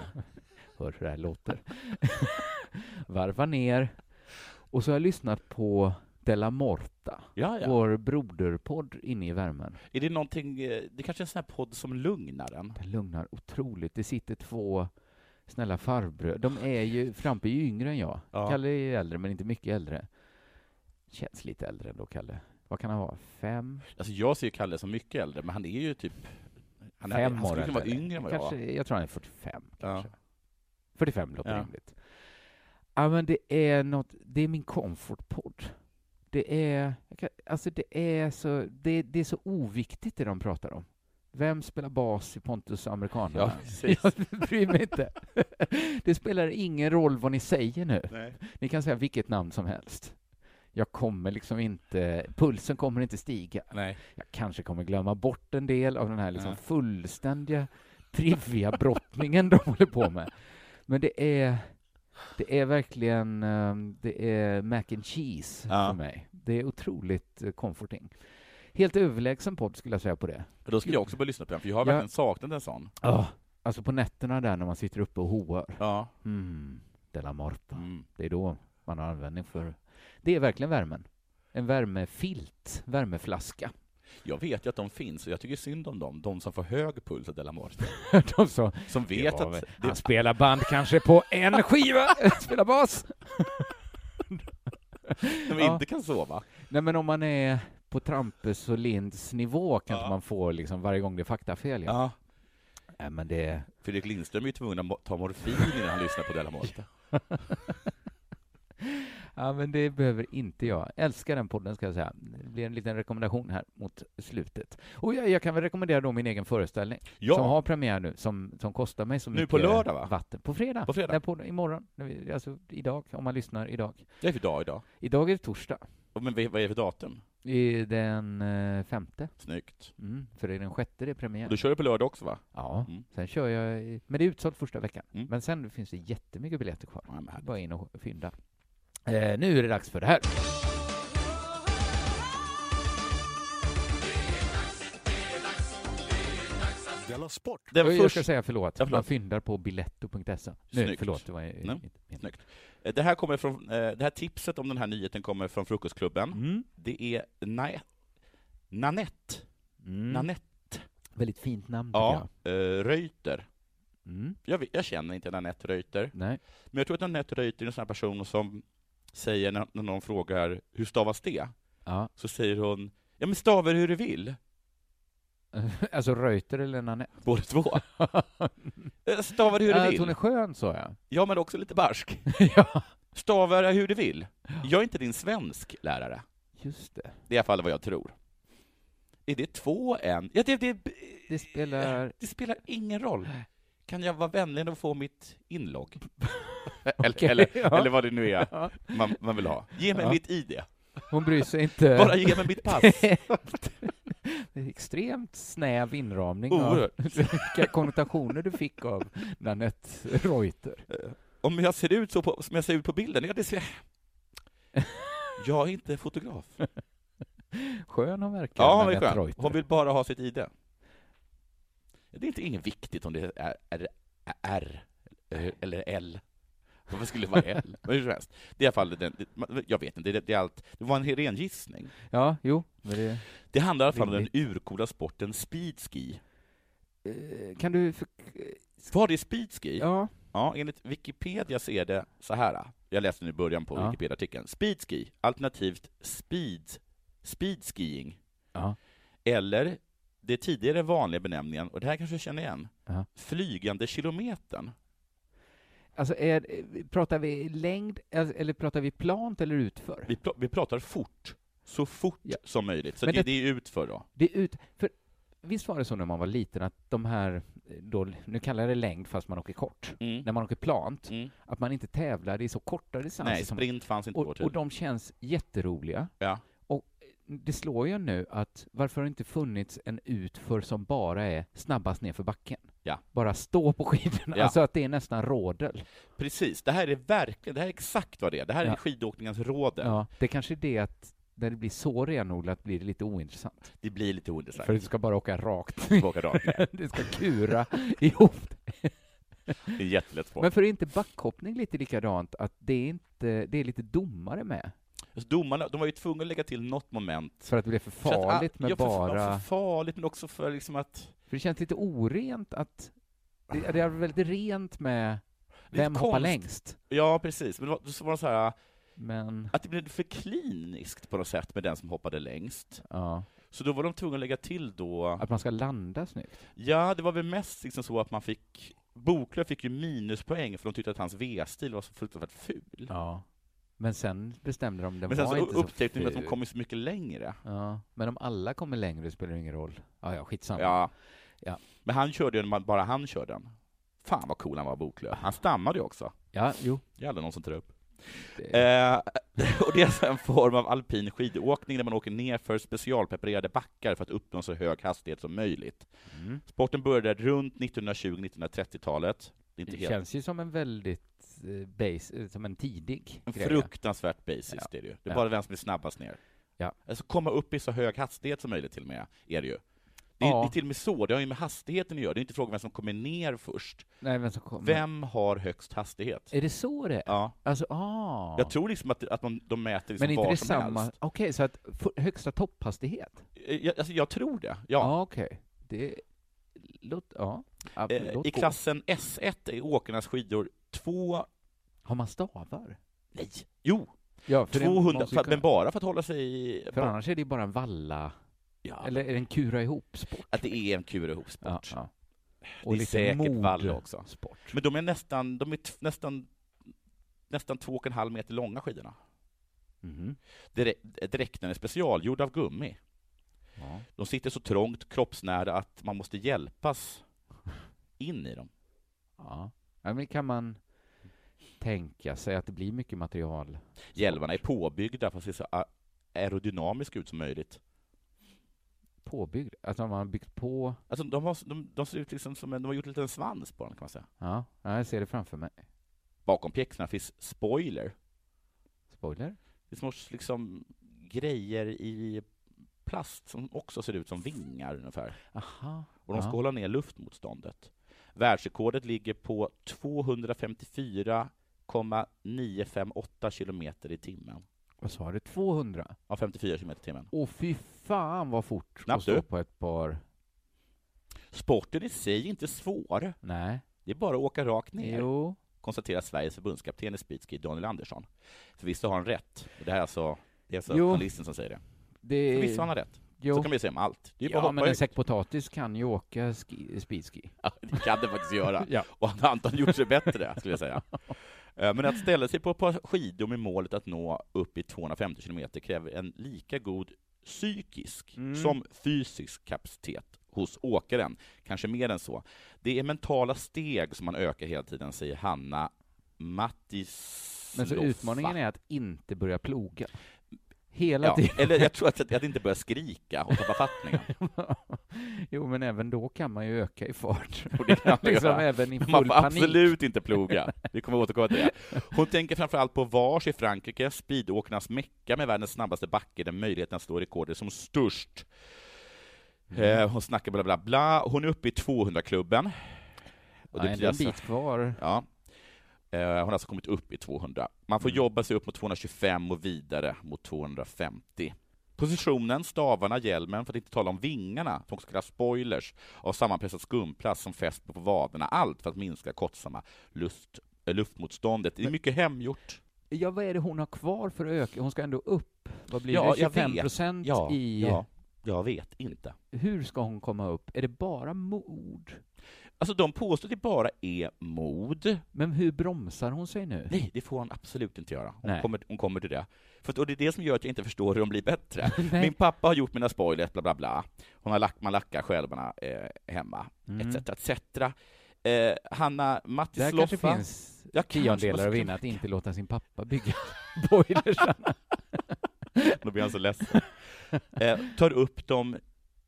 Speaker 6: Hör hur det här låter. Varva ner. Och så har jag lyssnat på Della Morta,
Speaker 7: Ja, ja.
Speaker 6: vår broderpodd inne i värmen.
Speaker 7: Är det någonting, eh, det är kanske är en sån här podd som lugnar den?
Speaker 6: Den lugnar otroligt. Det sitter två snälla farbröder. De är ju, Frampe är ju yngre än jag.
Speaker 7: Ja.
Speaker 6: Kalle är äldre, men inte mycket äldre. Känns lite äldre ändå, Kalle. Vad kan han vara? Fem?
Speaker 7: Alltså jag ser ju Kalle som mycket äldre, men han är ju typ... Han, är,
Speaker 6: fem
Speaker 7: han
Speaker 6: år
Speaker 7: skulle kunna vara
Speaker 6: äldre.
Speaker 7: yngre än vad jag
Speaker 6: kanske,
Speaker 7: var.
Speaker 6: Jag tror han är 45, kanske.
Speaker 7: Ja.
Speaker 6: 45 låter
Speaker 7: Ja.
Speaker 6: rimligt. Ja, men det är något, det är min comfortpodd. Det är, jag kan, alltså det är så, det, det är så oviktigt det de pratar om. Vem spelar bas i Pontus och amerikanerna?
Speaker 7: Ja, precis.
Speaker 6: jag bryr mig inte. Det spelar ingen roll vad ni säger nu.
Speaker 7: Nej.
Speaker 6: Ni kan säga vilket namn som helst. Jag kommer liksom inte, pulsen kommer inte stiga.
Speaker 7: Nej.
Speaker 6: Jag kanske kommer glömma bort en del av den här liksom
Speaker 7: Ja.
Speaker 6: fullständiga trivia-brottningen de håller på med. Men det är, det är verkligen eh, det är mac and cheese
Speaker 7: Ja.
Speaker 6: för mig. Det är otroligt eh, comforting. Helt överlägsen podd skulle jag säga på det.
Speaker 7: Då ska jag också börja lyssna på den, för jag har
Speaker 6: Ja.
Speaker 7: verkligen saknat en sån.
Speaker 6: Oh. Alltså på nätterna där när man sitter uppe och hoar.
Speaker 7: Ja.
Speaker 6: Mm, Della Morta.
Speaker 7: Mm.
Speaker 6: Det är då man har användning för... Det är verkligen värmen. En värmefilt, värmeflaska.
Speaker 7: Jag vet ju att de finns, och jag tycker synd om dem, de som får hög puls av Della Morte.
Speaker 6: De sa,
Speaker 7: Som
Speaker 6: Det
Speaker 7: vet
Speaker 6: var väl- alltså,
Speaker 7: att...
Speaker 6: Han spelar band kanske på en skiva, spelar bas.
Speaker 7: De
Speaker 6: Ja.
Speaker 7: inte kan sova.
Speaker 6: Nej men om man är på Trampus och Linds nivå kanske
Speaker 7: Ja.
Speaker 6: man får liksom varje gång det är faktafel. Ja.
Speaker 7: Ja.
Speaker 6: Nej men det...
Speaker 7: Fredrik Lindström är ju tvungen att mo- ta morfin innan han lyssnar på Della Morte.
Speaker 6: Ja men det behöver inte jag. Älskar den podden ska jag säga. Det blir en liten rekommendation här mot slutet. Och jag, jag kan väl rekommendera då min egen föreställning
Speaker 7: Ja.
Speaker 6: som har premiär nu, som, som kostar mig så
Speaker 7: Nu
Speaker 6: mycket
Speaker 7: på lördag, va?
Speaker 6: vatten. På fredag.
Speaker 7: På fredag.
Speaker 6: När podden, imorgon. När vi- Alltså idag, om man lyssnar idag.
Speaker 7: Det är för dag idag.
Speaker 6: Idag är det torsdag.
Speaker 7: Och Men vad vad är det för datum?
Speaker 6: Det är Den eh, femte.
Speaker 7: Snyggt.
Speaker 6: Mm, för det är den sjätte det är premiär.
Speaker 7: Och du kör det på lördag också va?
Speaker 6: Ja,
Speaker 7: Mm.
Speaker 6: sen kör jag, i- men det är utsålt första veckan.
Speaker 7: Mm.
Speaker 6: Men sen finns det jättemycket biljetter kvar.
Speaker 7: Ja, men härligt.
Speaker 6: Bara in och fynda. Eh, nu är det dags för det här.
Speaker 9: Della Sport.
Speaker 7: Den
Speaker 6: Oj, Jag
Speaker 7: första-
Speaker 6: ska säga förlåt.
Speaker 7: Ja, förlåt.
Speaker 6: Man fyndar på biletto.se. Nu,
Speaker 7: Snyggt.
Speaker 6: förlåt. Det var inte
Speaker 7: Nej.
Speaker 6: meningen.
Speaker 7: Snyggt. Eh, Det här, kommer från, eh, det här tipset om den här nyheten kommer från Frukostklubben.
Speaker 6: Mm.
Speaker 7: Det är Na- Nanette. Nanette.
Speaker 6: Mm. Väldigt fint namn, tycker
Speaker 7: Ja,
Speaker 6: jag.
Speaker 7: eh, Reuter.
Speaker 6: Mm.
Speaker 7: Jag, vet- jag känner inte Nanette Reuter,
Speaker 6: Nej.
Speaker 7: men jag tror att Nanette Reuter är en sån här person som säger när, när någon frågar hur stavas det?
Speaker 6: Ja.
Speaker 7: Så säger hon ja men stavar hur du vill,
Speaker 6: alltså Reuter eller Nanette?
Speaker 7: båda två. Eh, stavar hur du
Speaker 6: Äh, hon är
Speaker 7: vill.
Speaker 6: skön, sa jag.
Speaker 7: Ja, men också lite barsk.
Speaker 6: ja,
Speaker 7: Stavar hur du vill. Jag är inte din svensk lärare.
Speaker 6: just det.
Speaker 7: Det är i alla fall vad jag tror. Är det två än? Ja, det, det,
Speaker 6: Det spelar...
Speaker 7: det spelar ingen roll. Kan jag vara vänlig att få mitt inlogg? eller,
Speaker 6: Okej,
Speaker 7: eller,
Speaker 6: ja.
Speaker 7: eller vad det nu är
Speaker 6: Ja.
Speaker 7: man, man vill ha. Ge mig
Speaker 6: Ja.
Speaker 7: mitt ID.
Speaker 6: Hon bryr sig inte.
Speaker 7: Bara ge mig mitt pass.
Speaker 6: Det är Extremt snäv inramning av
Speaker 7: Oerhört.
Speaker 6: vilka konnotationer du fick av Nanette Reuter.
Speaker 7: Om jag ser ut så på, som jag ser ut på bilden? Ja, det ser... Jag är inte fotograf.
Speaker 6: Skön hon verkar,
Speaker 7: Ja, hon är
Speaker 6: Nanette
Speaker 7: skön.
Speaker 6: Reuter.
Speaker 7: Hon vill bara ha sitt ID. Det är inte inget viktigt om det är R, R eller L. Varför skulle det vara L? Men hur som helst. Det är i alla fall den, det- jag vet inte, det, det, är allt, det var en ren gissning.
Speaker 6: Ja, jo. Men det...
Speaker 7: Det handlar i alla fall om den urcoola sporten speedski.
Speaker 6: Eh, Kan du... För...
Speaker 7: Var det speedski? Ja.
Speaker 6: Ja.
Speaker 7: enligt Wikipedia så är det så här. Jag läste nu i början på
Speaker 6: Ja.
Speaker 7: Wikipedia-artikeln. Speedski, alternativt speed, speedskiing.
Speaker 6: Ja.
Speaker 7: Eller det tidigare vanliga benämningen, och det här kanske du känner igen,
Speaker 6: Ja.
Speaker 7: flygande kilometern.
Speaker 6: Alltså, är, pratar vi längd, alltså, eller pratar vi plant eller utför?
Speaker 7: Vi, pr- vi pratar fort, så fort
Speaker 6: Ja.
Speaker 7: som möjligt. Så
Speaker 6: Men
Speaker 7: det,
Speaker 6: det-
Speaker 7: det är utför då. Mm.
Speaker 6: Det är ut... För visst var det så när man var liten att de här, eh, då, nu kallar jag det längd fast man åker kort,
Speaker 7: Mm.
Speaker 6: när man åker plant,
Speaker 7: Mm.
Speaker 6: att man inte tävlade i så korta distanser.
Speaker 7: Nej,
Speaker 6: alltså som-
Speaker 7: sprint fanns inte typ. på vår
Speaker 6: och, och
Speaker 7: tid.
Speaker 6: de känns jätteroliga.
Speaker 7: Ja.
Speaker 6: Och eh, det slår ju nu att varför har det inte funnits en utför som bara är snabbast ner för backen?
Speaker 7: Ja.
Speaker 6: Bara stå på skidorna,
Speaker 7: Ja.
Speaker 6: alltså att det är nästan rådel.
Speaker 7: Precis, det här är verkligen, det här är exakt vad det är. Det här är
Speaker 6: Ja.
Speaker 7: skidåkningens råder.
Speaker 6: Ja, det kanske är det att när det blir så renodlat blir det lite ointressant.
Speaker 7: Det blir lite ointressant.
Speaker 6: För du ska bara åka rakt.
Speaker 7: Åka rakt ner.
Speaker 6: du ska kura ihop
Speaker 7: Det är en jättelätt sport.
Speaker 6: Men för är inte backhoppning lite likadant, att det är, inte, det är lite domare med?
Speaker 7: Alltså, domarna, de var ju tvungna att lägga till något moment.
Speaker 6: För att det blir för
Speaker 7: För att, ah,
Speaker 6: farligt med
Speaker 7: ja, för,
Speaker 6: bara...
Speaker 7: För farligt, men också för liksom att...
Speaker 6: För det känns lite orent att... Det det är väldigt rent med
Speaker 7: Lite
Speaker 6: vem hoppar
Speaker 7: konst.
Speaker 6: längst,
Speaker 7: Ja, precis. Men det var, så var det så här,
Speaker 6: men...
Speaker 7: att det blev för kliniskt på något sätt med den som hoppade längst.
Speaker 6: Ja,
Speaker 7: Så då var de tvungna att lägga till då...
Speaker 6: att man ska landa snyggt.
Speaker 7: Ja, det var väl mest liksom så att man fick... Boklöv fick ju minuspoäng för de tyckte att hans V-stil var så fruktansvärt ful.
Speaker 6: Ja. Men sen bestämde de, den
Speaker 7: Men sen
Speaker 6: var
Speaker 7: så
Speaker 6: inte så
Speaker 7: upptäckte de att de
Speaker 6: ful.
Speaker 7: kom ju så mycket längre.
Speaker 6: Ja, men om alla kommer längre spelar det ingen roll. Ja, ja, skitsamma.
Speaker 7: Ja.
Speaker 6: Ja.
Speaker 7: Men han körde ju, när man- bara han körde den. Fan vad cool han var, Boklöv. Han stammade ju också.
Speaker 6: ja jo.
Speaker 7: Det är aldrig någon som tar upp.
Speaker 6: Det-
Speaker 7: Eh, och det är alltså en form av alpin skidåkning där man åker ner för specialpreparerade backar för att uppnå så hög hastighet som möjligt.
Speaker 6: Mm.
Speaker 7: Sporten började runt 1920-1930-talet. Det är inte
Speaker 6: Det
Speaker 7: helt...
Speaker 6: känns ju som en väldigt eh, base, eh, som en tidig
Speaker 7: En
Speaker 6: grej.
Speaker 7: fruktansvärt basis,
Speaker 6: Ja.
Speaker 7: det är det ju. Det är
Speaker 6: Ja.
Speaker 7: bara vem som är snabbast ner.
Speaker 6: Ja.
Speaker 7: Alltså komma upp i så hög hastighet som möjligt till och med, är det ju. Det är,
Speaker 6: Ja.
Speaker 7: det är till och med så, det har ju med hastigheten att göra. Det är inte frågan vem som kommer ner först.
Speaker 6: Nej, vem som kommer.
Speaker 7: Vem har högst hastighet?
Speaker 6: Är det så det är?
Speaker 7: Ja.
Speaker 6: Alltså, ah.
Speaker 7: Jag tror liksom att, att man, de mäter liksom
Speaker 6: Men inte
Speaker 7: var
Speaker 6: det
Speaker 7: som
Speaker 6: samma?
Speaker 7: helst.
Speaker 6: Okej, så att f- högsta topphastighet?
Speaker 7: Eh, Jag, alltså, jag tror det, ja.
Speaker 6: Ja, okej. Det... Låt... Ja. ja
Speaker 7: Eh,
Speaker 6: låt
Speaker 7: I
Speaker 6: gå.
Speaker 7: klassen S1 är åkarnas skidor två...
Speaker 6: Har man stavar?
Speaker 7: Nej! Jo!
Speaker 6: Ja, det- man
Speaker 7: 200,
Speaker 6: ska ju
Speaker 7: för, men
Speaker 6: kunna-
Speaker 7: bara för att hålla sig... i-
Speaker 6: För annars är det ju bara en valla,
Speaker 7: ja,
Speaker 6: eller är det en kura ihop-sport?
Speaker 7: Att det är en kul ihopsport.
Speaker 6: Ja, ja.
Speaker 7: Det är säkert valla också.
Speaker 6: Sport.
Speaker 7: Men de är nästan, de är t- nästan, nästan två och en halv meter långa skidorna.
Speaker 6: Mhm.
Speaker 7: Direk- Dräkten är specialgjord av gummi.
Speaker 6: Ja.
Speaker 7: De sitter så trångt kroppsnära att man måste hjälpas in i dem.
Speaker 6: ja. ja, men kan man tänka sig att det blir mycket material?
Speaker 7: Hjälmarna är påbyggda för att se så a- aerodynamiska ut som möjligt.
Speaker 6: Påbyggd? Alltså man har byggt på...
Speaker 7: Alltså de, har, de, de ser ut liksom som en, de har gjort en liten svans på dem kan man säga.
Speaker 6: Ja, ja, jag ser det framför mig.
Speaker 7: Bakom pjäxorna finns spoiler.
Speaker 6: Spoiler?
Speaker 7: Det är små liksom, grejer i plast som också ser ut som vingar ungefär.
Speaker 6: Aha.
Speaker 7: Och de ska hålla ner luftmotståndet. Världsrekordet ligger på 254,958 kilometer i timmen.
Speaker 6: Vad sa du? 200?
Speaker 7: Ja, 54 kilometer i timmen.
Speaker 6: Åh fy fan vad fort
Speaker 7: Knappt
Speaker 6: att stå
Speaker 7: du.
Speaker 6: på ett par...
Speaker 7: Sporten i sig är inte svår.
Speaker 6: Nej.
Speaker 7: Det är bara att åka rakt ner.
Speaker 6: Jo.
Speaker 7: konstaterar Sveriges förbundskapten i speedski, Daniel Andersson. Förvisso har han rätt, och det här är alltså, det är alltså
Speaker 6: Jo.
Speaker 7: journalisten som säger det.
Speaker 6: Det...
Speaker 7: Förvisso har han rätt.
Speaker 6: Jo.
Speaker 7: Så kan man ju säga om allt. Det är ju bara
Speaker 6: Ja,
Speaker 7: att
Speaker 6: men
Speaker 7: hoppa
Speaker 6: en
Speaker 7: ut.
Speaker 6: säck potatis kan ju åka ski... speedski.
Speaker 7: Ja, det kan det faktiskt göra.
Speaker 6: Ja.
Speaker 7: Och han har antagligen gjort sig bättre, skulle jag säga. Eh, Men att ställa sig på ett par skidor med målet att nå upp i 250 kilometer kräver en lika god psykisk
Speaker 6: Mm.
Speaker 7: som fysisk kapacitet hos åkaren, kanske mer än så. Det är mentala steg som man ökar hela tiden, säger Hanna Mattis.
Speaker 6: Men så utmaningen är att inte börja ploga. Hela
Speaker 7: Ja,
Speaker 6: tiden.
Speaker 7: eller jag tror att, att inte börja skrika och tappa fattningen.
Speaker 6: jo, men även då kan man ju öka i fart.
Speaker 7: Och det kan man
Speaker 6: liksom
Speaker 7: göra.
Speaker 6: även i
Speaker 7: Men
Speaker 6: full
Speaker 7: man får
Speaker 6: panik.
Speaker 7: absolut inte ploga. Vi kommer återkomma till det. Hon tänker framförallt på Vars i Frankrike, speedåkarnas Mecka med världens snabbaste backe där möjligheten att slå rekord är som störst.
Speaker 6: Mm.
Speaker 7: Eh, hon snackar bla bla bla. Hon är uppe i 200-klubben. Och
Speaker 6: Nej, det
Speaker 7: betyder
Speaker 6: är en
Speaker 7: alltså-
Speaker 6: bit kvar.
Speaker 7: Ja. Eh, Hon har alltså kommit upp i 200. Man får jobba sig upp mot 225 och vidare mot 250. Positionen, stavarna, hjälmen, för att inte tala om vingarna, som också kallas spoilers, av sammanpressad skumplast som fästs på vaderna. Allt för att minska kortsamma lust, eh, luftmotståndet. Det är mycket hemgjort.
Speaker 6: Ja, vad är det hon har kvar för att öka? Hon ska ändå upp. Vad blir
Speaker 7: Ja,
Speaker 6: det?
Speaker 7: jag vet.
Speaker 6: 25 procent
Speaker 7: Ja,
Speaker 6: i...
Speaker 7: ja, jag vet inte.
Speaker 6: Hur ska hon komma upp? Är det bara mod?
Speaker 7: Alltså, de påstår att det bara är mod.
Speaker 6: Men hur bromsar hon sig nu?
Speaker 7: Nej, det får hon absolut inte göra. Hon,
Speaker 6: Nej.
Speaker 7: kommer, hon kommer till det. För att, och det är det som gör att jag inte förstår hur de blir bättre.
Speaker 6: Nej.
Speaker 7: Min pappa har gjort mina spoilers, bla bla bla. Hon har lack, man lackar skälvarna eh, hemma,
Speaker 6: Mm.
Speaker 7: etc. etc. Eh, Hanna
Speaker 6: Där
Speaker 7: Mattis
Speaker 6: kanske
Speaker 7: Loffa.
Speaker 6: finns
Speaker 7: Jag kanske
Speaker 6: tiondelar
Speaker 7: måste
Speaker 6: att vinna att
Speaker 7: knacka.
Speaker 6: inte låta sin pappa bygga boilersarna.
Speaker 7: Då blir han så ledsen. Eh, tar upp de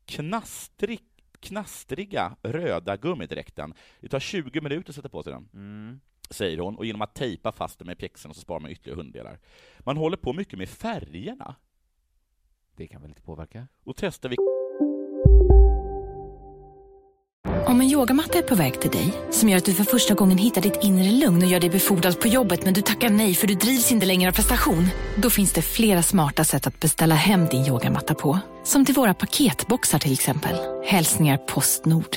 Speaker 7: knastrig, knastriga röda gummidräkten. Det tar 20 minuter att sätta på sig den.
Speaker 6: Mm.
Speaker 7: säger hon, och genom att tejpa fast den med pjäxorna så sparar man ytterligare hunddelar. Man håller på mycket med färgerna
Speaker 6: Det kan väl inte påverka?
Speaker 7: och testar vi
Speaker 9: Om en yogamatta är på väg till dig, som gör att du för första gången hittar ditt inre lugn och gör dig befordrad på jobbet men du tackar nej för du drivs inte längre av prestation. Då finns det flera smarta sätt att beställa hem din yogamatta på. Som till våra paketboxar till exempel. Hälsningar Postnord.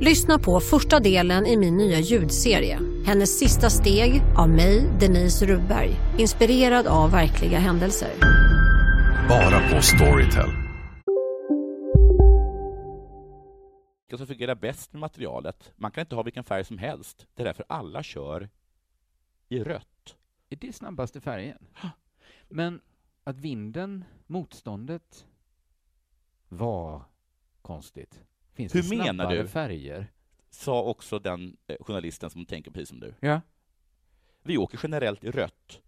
Speaker 10: Lyssna på första delen i min nya ljudserie. Hennes sista steg av mig, Denise Rubberg. Inspirerad av verkliga händelser.
Speaker 11: Bara på Storytel.
Speaker 7: vilka som fungerar bäst med materialet. Man kan inte ha vilken färg som helst. Det är därför alla kör i rött.
Speaker 6: Är det snabbaste färgen? Men att vinden, motståndet, var konstigt. Finns
Speaker 7: Hur
Speaker 6: det
Speaker 7: menar
Speaker 6: snabbare
Speaker 7: du?
Speaker 6: färger?
Speaker 7: Sa också den eh, journalisten som tänker precis som du.
Speaker 6: Ja.
Speaker 7: Vi åker generellt i rött.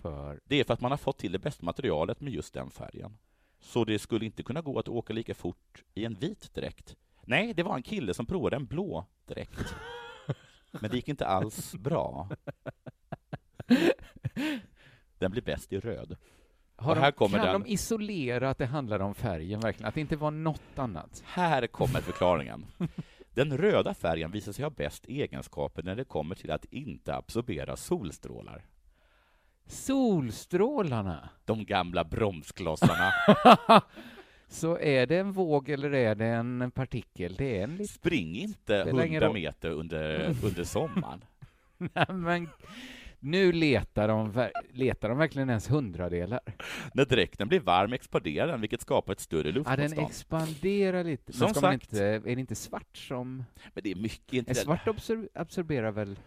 Speaker 6: För...
Speaker 7: Det är för att man har fått till det bästa materialet med just den färgen. Så det skulle inte kunna gå att åka lika fort i en vit dräkt. Nej, det var en kille som provade en blå dräkt. Men det gick inte alls bra. Den blir bäst i röd.
Speaker 6: Har
Speaker 7: Och
Speaker 6: de,
Speaker 7: här kommer
Speaker 6: kan
Speaker 7: den.
Speaker 6: de isolera att det handlar om färgen verkligen? Att det inte var något annat?
Speaker 7: Här kommer förklaringen. Den röda färgen visar sig ha bäst egenskaper när det kommer till att inte absorbera solstrålar.
Speaker 6: Solstrålarna!
Speaker 7: De gamla bromsklossarna.
Speaker 6: Så är det en våg eller är det en partikel? Det är en liten...
Speaker 7: Spring inte
Speaker 6: Spelar ingen
Speaker 7: 100
Speaker 6: roll.
Speaker 7: meter under, under sommaren.
Speaker 6: Nej, Men nu letar de, ver- letar de verkligen ens hundradelar.
Speaker 7: När dräkten blir varm expanderar den, vilket skapar ett större
Speaker 6: Ja, den
Speaker 7: luftmotstånd.
Speaker 6: expanderar lite. Men
Speaker 7: Som
Speaker 6: ska man
Speaker 7: sagt.
Speaker 6: inte, är det inte svart som...
Speaker 7: Men det är mycket
Speaker 6: Är
Speaker 7: inte...
Speaker 6: svart absor- absorberar väl...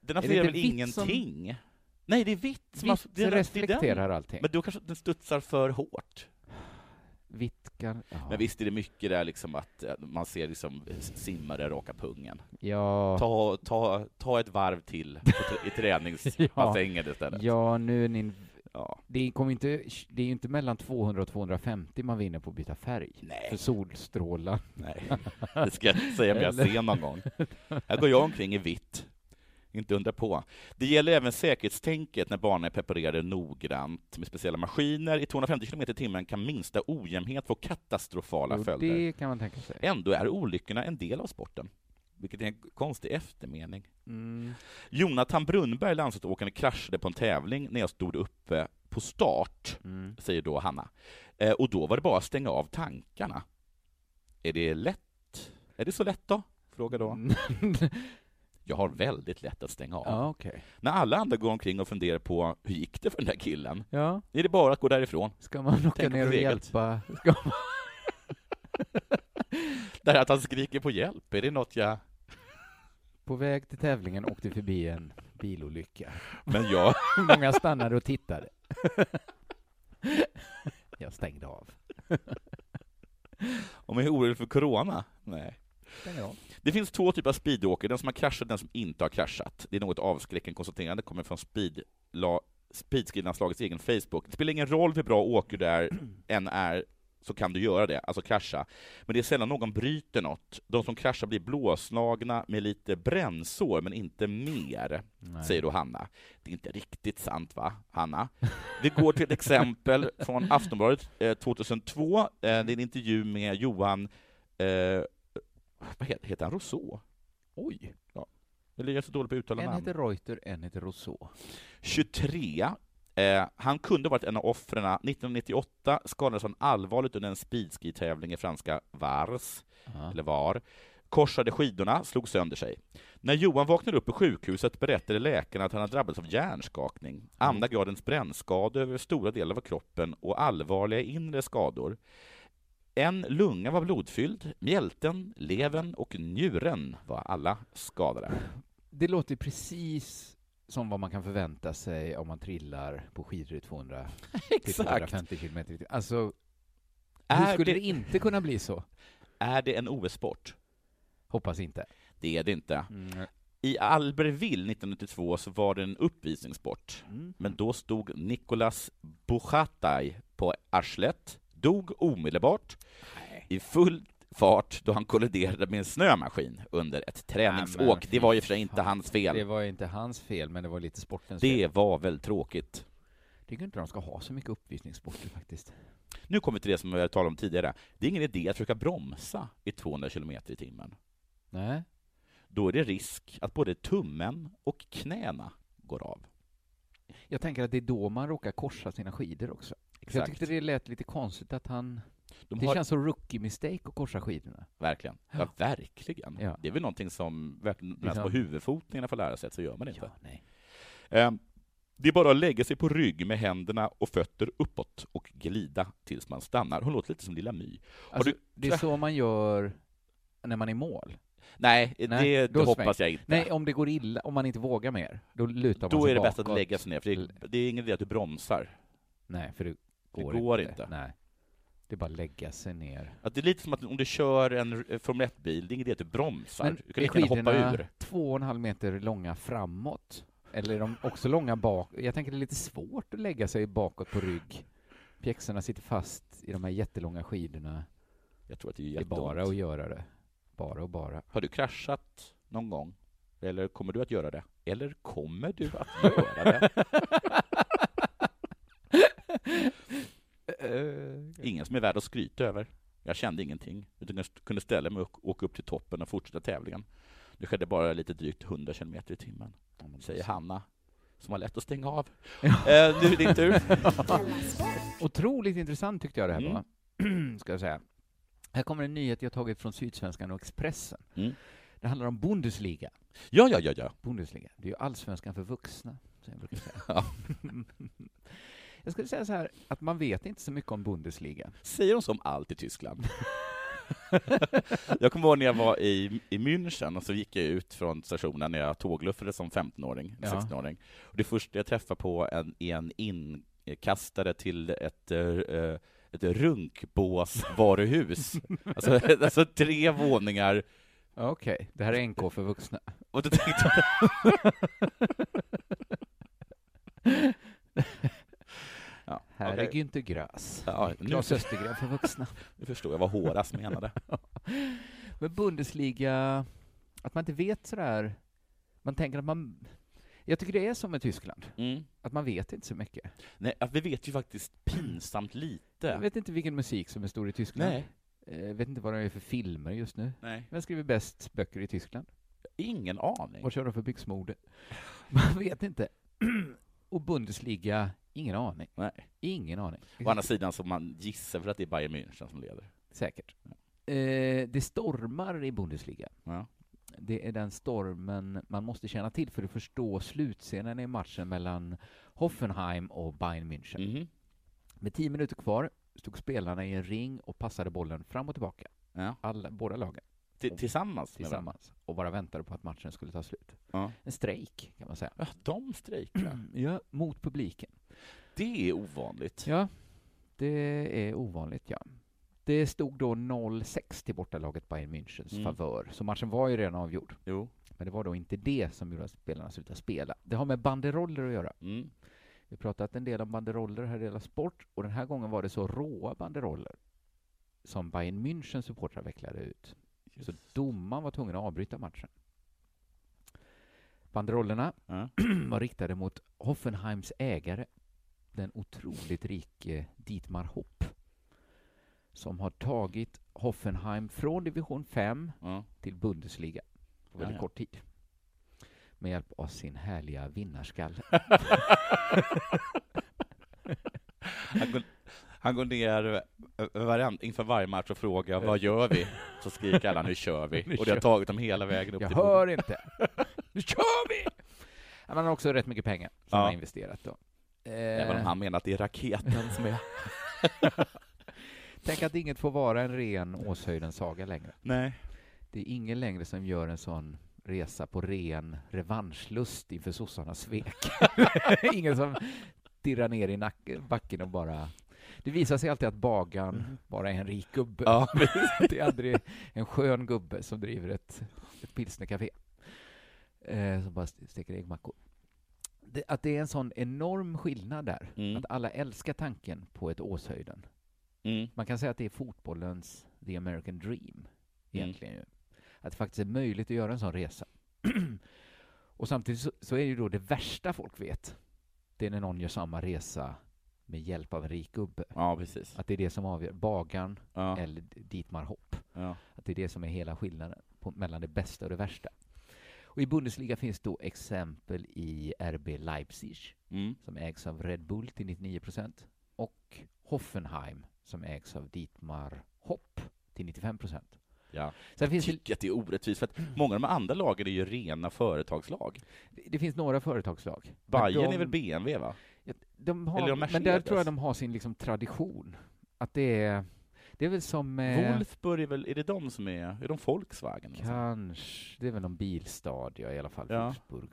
Speaker 7: Den
Speaker 6: är det
Speaker 7: absorberar väl
Speaker 6: vitt som-
Speaker 7: ingenting? Nej, det är vitt som
Speaker 6: Vitt
Speaker 7: det är rätt i den.
Speaker 6: reflekterar allting.
Speaker 7: Men då kanske den studsar för hårt.
Speaker 6: Vitkar. Ja.
Speaker 7: Men visst är det mycket där liksom att eh, man ser liksom simmare raka pungen.
Speaker 6: Ja.
Speaker 7: Ta, ta, ta ett varv till på tr- i träningsbassängen istället.
Speaker 6: Ja, nu är ni... Det, kommer inte, det är ju inte mellan 200 och 250 man vinner på att byta färg för solstrålar.
Speaker 7: Nej, Det ska jag inte säga om jag ser någon gång. Här går jag omkring i vitt. Inte undra på. Det gäller även säkerhetstänket när banorna är preparerade noggrant med speciella maskiner. I 250 km i timmen kan minsta ojämnhet få katastrofala
Speaker 6: Jo,
Speaker 7: följder.
Speaker 6: det kan man tänka sig.
Speaker 7: Ändå är olyckorna en del av sporten, vilket är en konstig eftermening.
Speaker 6: Mm.
Speaker 7: Jonathan Brunnberg, landslagsåkaren, kraschade på en tävling när jag stod uppe på start,
Speaker 6: Mm.
Speaker 7: säger då Hanna. Eh, och då var det bara att stänga av tankarna. Är det lätt? Är det så lätt då? Fråga då. jag har väldigt lätt att stänga av.
Speaker 6: Ja, okej.
Speaker 7: När alla andra går omkring och funderar på hur gick det för den där killen?
Speaker 6: Ja.
Speaker 7: Är det bara att gå därifrån?
Speaker 6: Ska man åka
Speaker 7: Tänk
Speaker 6: ner och
Speaker 7: på eget.
Speaker 6: hjälpa? Ska man...
Speaker 7: Där att han skriker på hjälp, är det något jag...
Speaker 6: På väg till tävlingen åkte förbi en bilolycka.
Speaker 7: Men jag-
Speaker 6: Många stannade och tittade. Jag stängde av.
Speaker 7: Om jag är orolig för corona? Nej.
Speaker 6: Stänger av.
Speaker 7: Det finns två typer av speedåkare, den som har kraschat och den som inte har kraschat. Det är något avskräckande konstaterande, kommer från speed, la, Speedskridanslagets egen Facebook. Det spelar ingen roll hur bra åker du är, än är, så kan du göra det, alltså krascha. Men det är sällan någon bryter något. De som kraschar blir blåslagna med lite brännsår, men inte mer,
Speaker 6: Nej.
Speaker 7: säger då Hanna. Det är inte riktigt sant, va, Hanna? Vi går till ett exempel från Aftonbladet eh, 2002. Eh, det är en intervju med Johan eh, vad heter, heter han? Rousseau? Oj! Ja. Eller jag är så dålig på att uttala
Speaker 6: En
Speaker 7: namn.
Speaker 6: heter Reuter, en heter Rousseau.
Speaker 7: 23. Eh, han kunde ha varit en av offren. 1998 skadades han allvarligt under en speedski-tävling i franska Vars, eller Var. Korsade skidorna, slog sönder sig. När Johan vaknade upp på sjukhuset berättade läkarna att han hade drabbats av hjärnskakning, andra gradens brännskador över stora delar av kroppen och allvarliga inre skador. En lunga var blodfylld, mjälten, levern och njuren var alla skadade.
Speaker 6: Det låter precis som vad man kan förvänta sig om man trillar på skidor i 200 till
Speaker 7: Exakt.
Speaker 6: 250 km i timmen. Alltså, hur
Speaker 7: Är
Speaker 6: skulle det...
Speaker 7: det-
Speaker 6: inte kunna bli så?
Speaker 7: Är det en OS-sport?
Speaker 6: Hoppas inte.
Speaker 7: Det är det inte. I Albertville 1992 så var det en uppvisningssport,
Speaker 6: Mm.
Speaker 7: men då stod Nicolas Buchataj på arslet, dog omedelbart i full fart då han kolliderade med en snömaskin under ett
Speaker 6: Nej, men
Speaker 7: träningsåk.
Speaker 6: fy
Speaker 7: Det var ju för sig inte hans
Speaker 6: Det
Speaker 7: fel.
Speaker 6: var inte hans fel, men det var lite sportens fel.
Speaker 7: Det var väl tråkigt.
Speaker 6: Jag tycker inte de ska ha så mycket uppvisningssporter faktiskt.
Speaker 7: Nu kommer vi till det som jag talade om tidigare. Det är ingen idé att försöka bromsa i 200 km i timmen.
Speaker 6: Nej.
Speaker 7: Då är det risk att både tummen och knäna går av.
Speaker 6: Jag tänker att det är då man råkar korsa sina skidor också. För Jag
Speaker 7: Exakt.
Speaker 6: tyckte det lät lite konstigt att han...
Speaker 7: De
Speaker 6: det
Speaker 7: har-
Speaker 6: känns som rookie mistake att korsa skidorna.
Speaker 7: Verkligen. Ja, verkligen.
Speaker 6: Ja.
Speaker 7: Det är väl någonting som verkligen, när
Speaker 6: Liksom.
Speaker 7: på huvudfotningarna får lära sig, så gör man inte. Ehm, Det är bara att lägga sig på rygg med händerna och fötter uppåt och glida tills man stannar. Hon låter lite som Lilla My. Har
Speaker 6: Alltså,
Speaker 7: du-
Speaker 6: Det är så man gör när man är i mål.
Speaker 7: Nej, det,
Speaker 6: då
Speaker 7: det hoppas
Speaker 6: sväng.
Speaker 7: jag inte.
Speaker 6: Nej, om det går illa, om man inte vågar mer, då lutar man
Speaker 7: Då
Speaker 6: sig
Speaker 7: är det bäst att
Speaker 6: bakåt.
Speaker 7: lägga sig ner, för det är, det är ingen idé att du bromsar.
Speaker 6: Nej, för det går,
Speaker 7: det går
Speaker 6: inte.
Speaker 7: inte.
Speaker 6: Nej. Det är bara att lägga sig ner.
Speaker 7: Att det är lite som att om du kör en eh, Formel 1-bil, det är ingen idé att du bromsar. du kan
Speaker 6: är
Speaker 7: lika gärna hoppa
Speaker 6: skidorna
Speaker 7: ur.
Speaker 6: två och en halv meter långa framåt? Eller är de också långa bak? Jag tänker det är lite svårt att lägga sig bakåt på rygg. Pjäxorna sitter fast i de här jättelånga skidorna.
Speaker 7: Jag tror att det är
Speaker 6: Det är
Speaker 7: jätteont.
Speaker 6: bara att göra det. Bara och bara.
Speaker 7: Har du kraschat någon gång? Eller kommer du att göra det? Eller kommer du att göra det? Ingen som är värd att skryta över. Jag kände ingenting, utan jag kunde ställa mig och åka upp till toppen och fortsätta tävlingen. Det skedde bara lite drygt 100 kilometer i timmen, säger Hanna, som har lätt att stänga av. eh, nu är det din tur.
Speaker 6: Otroligt intressant tyckte jag det här
Speaker 7: Mm.
Speaker 6: var. Ska jag säga. Här kommer en nyhet jag tagit från Sydsvenskan och Expressen.
Speaker 7: Mm.
Speaker 6: Det handlar om Bundesliga.
Speaker 7: Ja, ja, ja, ja.
Speaker 6: Bundesliga. Det är ju allsvenskan för vuxna, som jag brukar
Speaker 7: Ja.
Speaker 6: säga. jag skulle säga så här, att man vet inte så mycket om Bundesliga.
Speaker 7: Säger de som allt i Tyskland? jag kommer ihåg när jag var i, i München och så gick jag ut från stationen när jag tågluffade som 15-åring,
Speaker 6: Ja.
Speaker 7: 16-åring. Och det första jag träffade på en, är en inkastare till ett, eh, eh, ett runkbåsvaruhus. alltså, alltså tre våningar.
Speaker 6: Okej, det här är NK för vuxna.
Speaker 7: Och då tänkte ja,
Speaker 6: Här är
Speaker 7: okej.
Speaker 6: Günther Grass.
Speaker 7: Ja, nu-
Speaker 6: Klas Östergren för vuxna.
Speaker 7: Nu förstår jag vad Horace menade.
Speaker 6: Men Bundesliga, att man inte vet sådär, man tänker att man... Jag tycker det är som med Tyskland, att man vet inte så mycket.
Speaker 7: Mm. Nej, att vi vet ju faktiskt pinsamt lite.
Speaker 6: Jag vet inte vilken musik som är stor i Tyskland.
Speaker 7: Nej.
Speaker 6: Nej. Jag vet inte vad de är för filmer just nu.
Speaker 7: Nej.
Speaker 6: Vem skriver bäst böcker i Tyskland?
Speaker 7: Ingen aning.
Speaker 6: Vad kör de för byxmode? Man vet inte. Och Bundesliga, ingen aning.
Speaker 7: Nej.
Speaker 6: Ingen aning.
Speaker 7: Å andra sidan så man gissar väl att det är Bayern München som leder.
Speaker 6: Säkert. Eh, det stormar i Bundesliga. Det är den stormen man måste känna till för att förstå slutscenen i matchen mellan Hoffenheim och Bayern
Speaker 7: Mm.
Speaker 6: München. Med tio minuter kvar stod spelarna i en ring och passade bollen fram och tillbaka. Alla, båda lagen.
Speaker 7: Ti- tillsammans med
Speaker 6: Tillsammans. Och bara väntade på att matchen skulle ta slut.
Speaker 7: Ja.
Speaker 6: En strejk, kan man säga. Mm,
Speaker 7: Ja, de strejkar.
Speaker 6: ja, mot publiken.
Speaker 7: Det är ovanligt.
Speaker 6: Ja, det är ovanligt, ja. Det stod då 0-6 till bortalaget Bayern Münchens
Speaker 7: Mm.
Speaker 6: favör, så matchen var ju redan avgjord. Men det var då inte det som gjorde att spelarna slutade spela. Det har med banderoller att göra.
Speaker 7: Mm.
Speaker 6: Vi har pratat en del om banderoller här i Dela Sport, och den här gången var det så råa banderoller som Bayern Münchens supportrar vecklade ut. Så domaren var tvungen att avbryta matchen. Banderollerna var riktade mot Hoffenheims ägare, den otroligt rike Dietmar Hopp, som har tagit Hoffenheim från division 5 till Bundesliga på väldigt
Speaker 7: Ja, ja.
Speaker 6: kort tid. Med hjälp av sin härliga vinnarskalle.
Speaker 7: Han går, han går ner eh, varand, inför varje match och frågar vad gör vi? Så skriker alla nu kör
Speaker 6: Nu
Speaker 7: vi. Och det har
Speaker 6: kör
Speaker 7: tagit dem hela vägen upp
Speaker 6: Jag
Speaker 7: till
Speaker 6: hör inte. Nu kör vi! Ja, Man har också rätt mycket pengar som
Speaker 7: Ja.
Speaker 6: man har investerat då.
Speaker 7: Även om
Speaker 6: Eh,
Speaker 7: han menar att det är raketen som är...
Speaker 6: Tänk att inget får vara en ren Åshöjden-saga längre.
Speaker 7: Nej.
Speaker 6: Det är ingen längre som gör en sån resa på ren revanschlust inför sossarnas svek. ingen som dirrar ner i nack- backen och bara... Det visar sig alltid att bagan bara är en rik gubbe.
Speaker 7: Ja,
Speaker 6: det är aldrig en skön gubbe som driver ett, ett pilsnercafé. Eh, som bara st- steker äggmackor. Det, att det är en sån enorm skillnad där. Att alla älskar tanken på ett Åshöjden.
Speaker 7: Mm.
Speaker 6: Man kan säga att det är fotbollens the American dream, egentligen. Ju. Att det faktiskt är möjligt att göra en sån resa. och samtidigt så, så är det ju då det värsta folk vet, det är när någon gör samma resa med hjälp av en rik gubbe.
Speaker 7: Ja, precis.
Speaker 6: Att det är det som avgör, bagan
Speaker 7: Ja.
Speaker 6: eller Dietmar Hopp.
Speaker 7: Ja.
Speaker 6: Att det är det som är hela skillnaden på, mellan det bästa och det värsta. Och I Bundesliga finns då exempel i RB Leipzig,
Speaker 7: Mm.
Speaker 6: som ägs av Red Bull till 99 procent, och Hoffenheim, som ägs av Dietmar Hopp till 95 procent.
Speaker 7: Ja.
Speaker 6: Sen finns
Speaker 7: jag tycker att det är Mm. orättvist, för att många av de andra lagen är ju rena företagslag.
Speaker 6: Det, det finns några företagslag. men
Speaker 7: Bayern
Speaker 6: de-
Speaker 7: är väl BMW, va?
Speaker 6: Ja, de
Speaker 7: Eller
Speaker 6: har,
Speaker 7: de
Speaker 6: men där tror
Speaker 7: Mercedes?
Speaker 6: jag de har sin liksom tradition. Att det är, det är väl som... eh,
Speaker 7: Wolfsburg är väl, är det de som är, är de Volkswagen?
Speaker 6: Kanske. Det är väl någon bilstad, ja, i alla fall.
Speaker 7: Ja.
Speaker 6: Wolfsburg.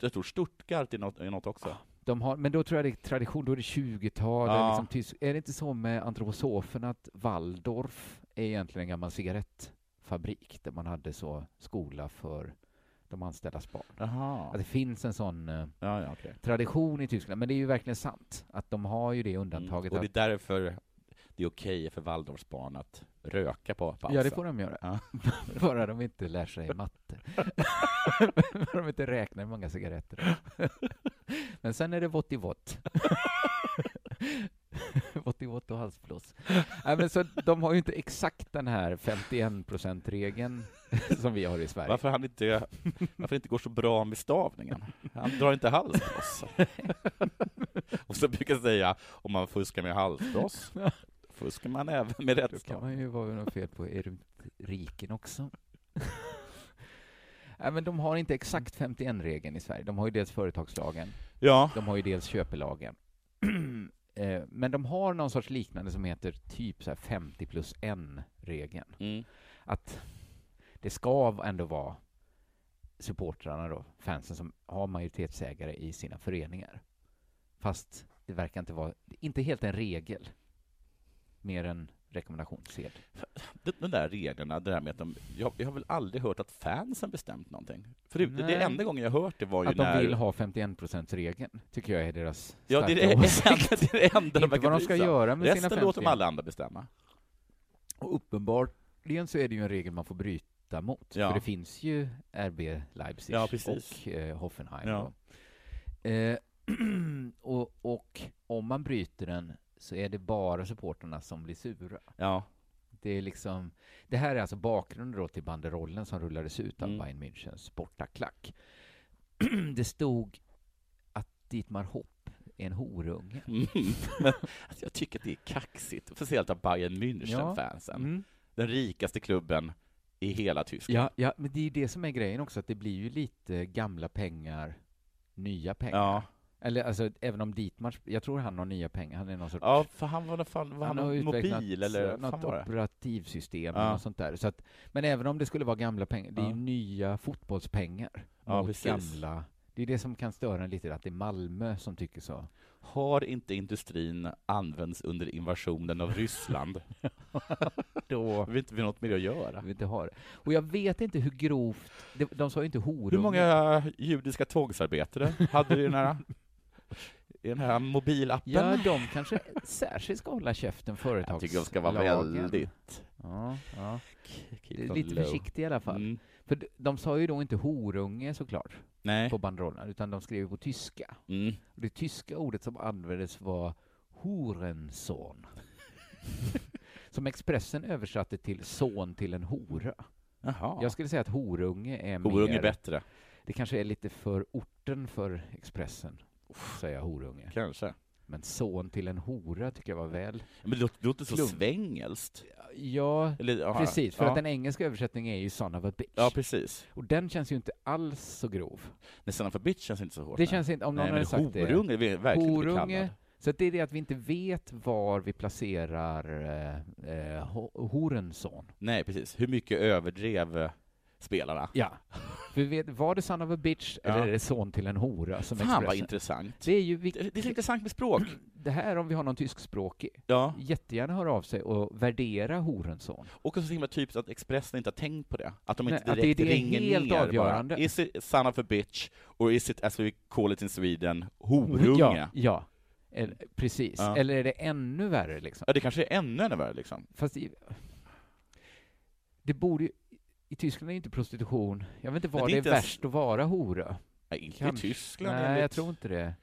Speaker 7: Jag tror Stuttgart är något, är något också.
Speaker 6: De har, men då tror jag det är tradition, då är det 20-tal.
Speaker 7: Ja.
Speaker 6: Ja. Liksom tysk- är det inte så med antroposoferna att Waldorf är egentligen en gammal cigarettfabrik där man hade så skola för de anställdas barn? Att det finns en sån eh, tradition i Tyskland, men det är ju verkligen sant att de har ju det undantaget.
Speaker 7: Mm. Och det
Speaker 6: att-
Speaker 7: är därför det är okej för Waldorfs barn att röka på pausen.
Speaker 6: Ja, det får de göra. Bara de inte lär sig matte. Bara de inte räknar hur många cigaretter. Men sen är det vått i vått. vått i vått och halsblås. Nej, men så de har ju inte exakt den här 51%-regeln som vi har i Sverige.
Speaker 7: Varför han inte, varför det inte går så bra med stavningen? Han drar inte halsbloss. Och så brukar jag säga, om man fuskar med halsbloss, fuskar man även med
Speaker 6: Då kan man
Speaker 7: rättstav.
Speaker 6: ju vara något fel på erudiken också. Nej, men de har inte exakt 51-regeln i Sverige. De har ju dels företagslagen,
Speaker 7: ja.
Speaker 6: de har ju dels köpelagen. Eh, men de har någon sorts liknande som heter typ så här 50 plus 1-regeln.
Speaker 7: Mm.
Speaker 6: Att det ska ändå vara supportrarna då, fansen som har majoritetsägare i sina föreningar. Fast det verkar inte vara, inte helt en regel. mer en rekommendationssed.
Speaker 7: De, de där reglerna, det där med att de, jag, jag har väl aldrig hört att fansen bestämt någonting? Förut, det-
Speaker 6: Nej.
Speaker 7: det enda gången jag hört det var ju
Speaker 6: Att
Speaker 7: när...
Speaker 6: de vill ha 51%-regeln, tycker jag är deras
Speaker 7: Ja, det är
Speaker 6: starka
Speaker 7: det
Speaker 6: åsikt.
Speaker 7: enda- det är det enda de
Speaker 6: Inte
Speaker 7: verkar
Speaker 6: vad de
Speaker 7: bry
Speaker 6: ska
Speaker 7: sig om.
Speaker 6: göra med sina
Speaker 7: Resten låter de
Speaker 6: 51.
Speaker 7: alla andra bestämma.
Speaker 6: Och uppenbarligen så är det ju en regel man får bryta mot,
Speaker 7: Ja.
Speaker 6: för det finns ju RB Leipzig
Speaker 7: Ja, precis.
Speaker 6: och eh, Hoffenheim.
Speaker 7: Ja.
Speaker 6: då. Eh, och, och om man bryter den så är det bara supporterna som blir sura.
Speaker 7: Ja.
Speaker 6: Det, är liksom, det här är alltså bakgrunden då till banderollen som rullades ut
Speaker 7: Mm.
Speaker 6: av Bayern Münchens bortaklack. det stod att Dietmar Hopp är en horunge.
Speaker 7: Mm. Men alltså, jag tycker att det är kaxigt, speciellt av Bayern München-fansen.
Speaker 6: Ja. Mm.
Speaker 7: Den rikaste klubben i hela Tyskland.
Speaker 6: Ja, ja, men det är ju det som är grejen också, att det blir ju lite gamla pengar, nya pengar.
Speaker 7: Ja.
Speaker 6: Eller alltså, även om Dietmar, jag tror han har nya pengar, han är någon sorts...
Speaker 7: Ja, för han var, fan, var han,
Speaker 6: har utvecklat
Speaker 7: mobil eller vad fan
Speaker 6: något
Speaker 7: var det?
Speaker 6: operativsystem
Speaker 7: Ja.
Speaker 6: eller något sånt där. Så att, men även om det skulle vara gamla pengar, det är ju
Speaker 7: Ja.
Speaker 6: nya fotbollspengar
Speaker 7: Ja,
Speaker 6: mot
Speaker 7: precis.
Speaker 6: gamla. Det är det som kan störa en lite, att det är Malmö som tycker så.
Speaker 7: Har inte industrin använts under invasionen av Ryssland?
Speaker 6: Då
Speaker 7: vill inte vi något mer att göra.
Speaker 6: Vi inte har det. Och jag vet inte hur grovt, de, de sa ju inte horunge.
Speaker 7: Hur många judiska tågsarbetare hade du i den här, i den här mobilappen?
Speaker 6: Ja, de kanske särskilt ska hålla käften företagslagen.
Speaker 7: Jag tycker de ska vara väldigt...
Speaker 6: Ja, ja.
Speaker 7: keep
Speaker 6: Det är
Speaker 7: them
Speaker 6: Lite
Speaker 7: low.
Speaker 6: försiktiga i alla fall.
Speaker 7: Mm.
Speaker 6: För d- de sa ju då inte horunge såklart
Speaker 7: Nej.
Speaker 6: på banderollerna, utan de skrev ju på tyska.
Speaker 7: Mm.
Speaker 6: Och det tyska ordet som användes var horenson. som Expressen översatte till son till en hora.
Speaker 7: Jaha.
Speaker 6: Jag skulle säga att horunge är
Speaker 7: Horunge
Speaker 6: mer...
Speaker 7: är bättre.
Speaker 6: Det kanske är lite för orten för Expressen, säga horunge.
Speaker 7: Kanske.
Speaker 6: Men son till en hora tycker jag var väl...
Speaker 7: Men det låter, det låter så
Speaker 6: Klump.
Speaker 7: svängelskt.
Speaker 6: Ja,
Speaker 7: Eller, ja,
Speaker 6: precis. För
Speaker 7: ja.
Speaker 6: att den engelska översättningen är ju son of a bitch.
Speaker 7: Ja, precis.
Speaker 6: Och den känns ju inte alls så grov.
Speaker 7: Nej, Son of a bitch känns inte så hårt.
Speaker 6: Det
Speaker 7: nej.
Speaker 6: känns inte, om någon
Speaker 7: Nej,
Speaker 6: hade
Speaker 7: men
Speaker 6: sagt det.
Speaker 7: horunge är vi verkligen inte
Speaker 6: Horunge.
Speaker 7: kallad.
Speaker 6: Så att det är det att vi inte vet var vi placerar eh, eh, ho- Horensson.
Speaker 7: Nej, precis. Hur mycket överdrev eh, spelarna?
Speaker 6: Ja. Vi vet, var det son of a bitch
Speaker 7: Ja.
Speaker 6: eller är det son till en hora? Som
Speaker 7: Fan vad
Speaker 6: Expressen-
Speaker 7: intressant.
Speaker 6: Det är ju det,
Speaker 7: är så intressant med språk.
Speaker 6: Det här om vi har någon tyskspråkig.
Speaker 7: Ja.
Speaker 6: Jättegärna hör av sig och värdera Horensson.
Speaker 7: Och så himla typiskt att Expressen inte har tänkt på det. Att de inte
Speaker 6: Nej, att det
Speaker 7: direkt
Speaker 6: är det
Speaker 7: ringer
Speaker 6: helt
Speaker 7: ner
Speaker 6: avgörande.
Speaker 7: bara. Is it son of a bitch, or is it, as we call it in Sweden, horunge?
Speaker 6: Ja, ja. Eller, precis.
Speaker 7: Ja.
Speaker 6: Eller är det ännu värre liksom?
Speaker 7: Ja, det kanske är ännu, ännu värre liksom.
Speaker 6: Fast i, det borde ju, I Tyskland är ju inte prostitution... Jag vet inte
Speaker 7: Men
Speaker 6: var
Speaker 7: det är
Speaker 6: det är,
Speaker 7: inte ens-
Speaker 6: värst att vara hora.
Speaker 7: Nej, inte i
Speaker 6: Kanske.
Speaker 7: Tyskland,
Speaker 6: Nej,
Speaker 7: enligt-
Speaker 6: jag tror inte det.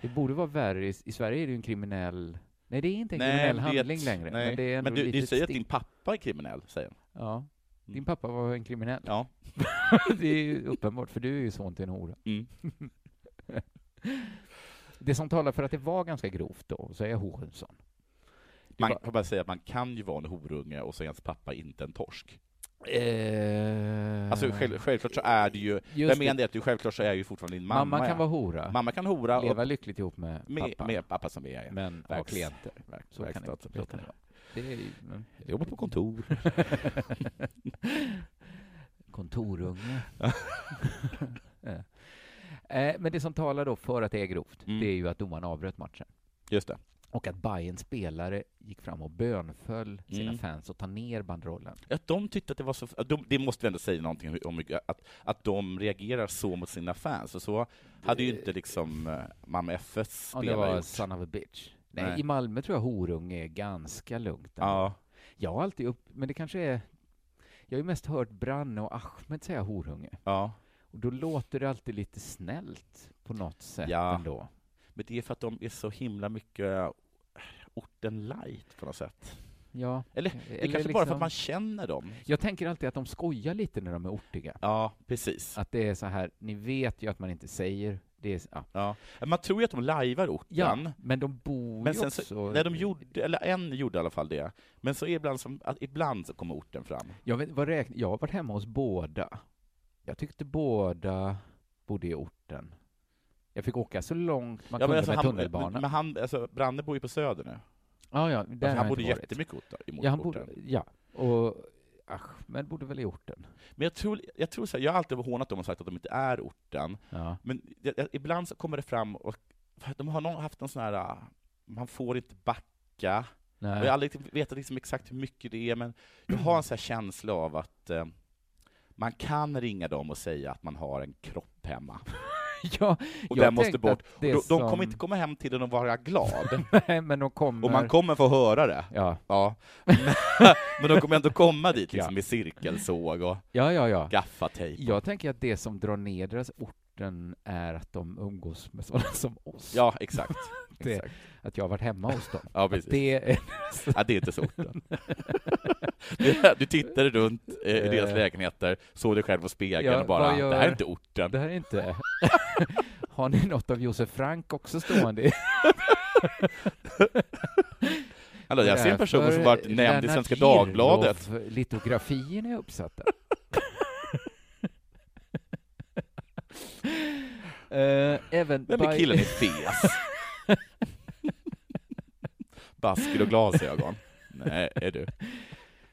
Speaker 6: Det borde vara värre. I, i Sverige är det ju en kriminell... Nej, det är inte en kriminell
Speaker 7: vet.
Speaker 6: handling längre.
Speaker 7: Nej.
Speaker 6: Men det är ändå
Speaker 7: du,
Speaker 6: lite
Speaker 7: du säger att
Speaker 6: stick.
Speaker 7: din Mm. pappa är kriminell, säger han.
Speaker 6: Ja. Din pappa var en kriminell.
Speaker 7: Ja.
Speaker 6: det är ju uppenbart, för du är ju son till en hora.
Speaker 7: Mm.
Speaker 6: det som talar för att det var ganska grovt då, så är Horensson. Det
Speaker 7: Man
Speaker 6: var-
Speaker 7: kan bara säga att man kan ju vara en horunge och så är ens pappa inte en torsk.
Speaker 6: Eh...
Speaker 7: Alltså själv, självklart så är det ju,
Speaker 6: Just
Speaker 7: vem
Speaker 6: det.
Speaker 7: menar det att du självklart så är ju fortfarande din mamma.
Speaker 6: Mamman kan
Speaker 7: ja.
Speaker 6: vara hora.
Speaker 7: Mamma kan hora.
Speaker 6: Leva
Speaker 7: och-
Speaker 6: lyckligt ihop med
Speaker 7: med,
Speaker 6: pappa.
Speaker 7: med pappa som vi är.
Speaker 6: Men ha
Speaker 7: Verks-
Speaker 6: klienter.
Speaker 7: verk-
Speaker 6: Så kan det-
Speaker 7: verkstads-
Speaker 6: det kan det vara. Det är ju- men-
Speaker 7: Jag jobbar på kontor.
Speaker 6: Kontorunge. Eh. Eh, Men det som talar då för att det är grovt,
Speaker 7: Mm.
Speaker 6: det är ju att domaren avbröt matchen.
Speaker 7: Just det.
Speaker 6: Och att Bayerns spelare gick fram och bönföll sina
Speaker 7: Mm.
Speaker 6: fans och ta ner banderollen.
Speaker 7: Att de tyckte att det var så... att De, det måste vi ändå säga någonting om, om att, att de reagerar så mot sina fans. Och så hade ju inte liksom eh, Malmö FFs
Speaker 6: Ja, det
Speaker 7: spelare
Speaker 6: var
Speaker 7: gjort.
Speaker 6: son of a bitch. Nej,
Speaker 7: Nej.
Speaker 6: i Malmö tror jag horunge är ganska lugnt. ändå.
Speaker 7: Ja.
Speaker 6: Jag har alltid upp... Men det kanske är... Jag har ju mest hört Branne och Ahmed säga horunge.
Speaker 7: Ja.
Speaker 6: Och då låter det alltid lite snällt på något sätt
Speaker 7: Ja.
Speaker 6: ändå.
Speaker 7: Men det är för att de är så himla mycket eh, orten light på något sätt.
Speaker 6: Ja. Eh,
Speaker 7: Eller, det är kanske bara för
Speaker 6: liksom
Speaker 7: att man känner dem.
Speaker 6: Jag tänker alltid att de skojar lite när de är ortiga.
Speaker 7: Ja, precis.
Speaker 6: Att det är så här, ni vet ju att man inte säger... Det är, ja.
Speaker 7: Ja. Man tror ju att de lajvar orten.
Speaker 6: Ja, men de bor
Speaker 7: Men
Speaker 6: ju
Speaker 7: sen
Speaker 6: också...
Speaker 7: så, när de gjorde, eller en gjorde i alla fall det, men så ibland, som, att ibland så kommer orten fram.
Speaker 6: Jag, vet, vad räkn... jag har varit hemma hos båda. Jag tyckte båda bodde i orten. Jag fick åka så långt man
Speaker 7: Ja,
Speaker 6: kunde
Speaker 7: alltså
Speaker 6: med
Speaker 7: han-
Speaker 6: tunnelbana.
Speaker 7: Men, men han, alltså, Branne bor ju på Söder nu.
Speaker 6: ja, ja,
Speaker 7: Alltså,
Speaker 6: där har
Speaker 7: han
Speaker 6: jag
Speaker 7: bodde
Speaker 6: inte varit.
Speaker 7: jättemycket orten, i
Speaker 6: Ja, han
Speaker 7: orten.
Speaker 6: borde, ja. Och Ahmed borde väl i orten.
Speaker 7: Men jag tror, jag tror så här, jag har alltid hånat dem och sagt att de inte är orten,
Speaker 6: Ja.
Speaker 7: men jag, jag, äh, ibland så kommer det fram och för att de har någon, haft någon sån här, ah, man får inte backa,
Speaker 6: Nej.
Speaker 7: Jag har aldrig vetat liksom exakt hur mycket det är, men jag har en så här känsla av att eh, man kan ringa dem och säga att man har en kropp hemma.
Speaker 6: Ja,
Speaker 7: och
Speaker 6: jag
Speaker 7: den måste
Speaker 6: tänkte
Speaker 7: bort.
Speaker 6: att
Speaker 7: Och
Speaker 6: det
Speaker 7: De, de
Speaker 6: som-
Speaker 7: kommer inte komma hem till den och vara glad.
Speaker 6: Nej, men de kommer...
Speaker 7: Och man kommer få höra det.
Speaker 6: Ja.
Speaker 7: Men, men de kommer ändå komma dit liksom, med cirkelsåg och
Speaker 6: Ja, ja, ja.
Speaker 7: gaffatejp.
Speaker 6: Jag tänker att det som drar ner deras orten är att de umgås med sådana som oss.
Speaker 7: Ja, exakt.
Speaker 6: det,
Speaker 7: Exakt.
Speaker 6: Att jag har varit hemma hos dem.
Speaker 7: Ja,
Speaker 6: Att
Speaker 7: precis.
Speaker 6: Det är...
Speaker 7: Ja, det är inte så orten. Du- Du tittade runt eh, i deras
Speaker 6: Eh.
Speaker 7: lägenheter, såg dig själv på spegeln
Speaker 6: Ja,
Speaker 7: och bara
Speaker 6: vad gör-
Speaker 7: ”det här är inte orten”.
Speaker 6: Det här är inte... Har ni något av Josef Frank också stående? i-
Speaker 7: Hallå, jag ser en person som
Speaker 6: Därför
Speaker 7: varit nämnd i
Speaker 6: Lennart
Speaker 7: Svenska Dagbladet.
Speaker 6: Giroff, Litografierna är uppsatta. Eh, även
Speaker 7: Vem är
Speaker 6: by-
Speaker 7: killen i fes? Basker och glasögon. Nej, är du.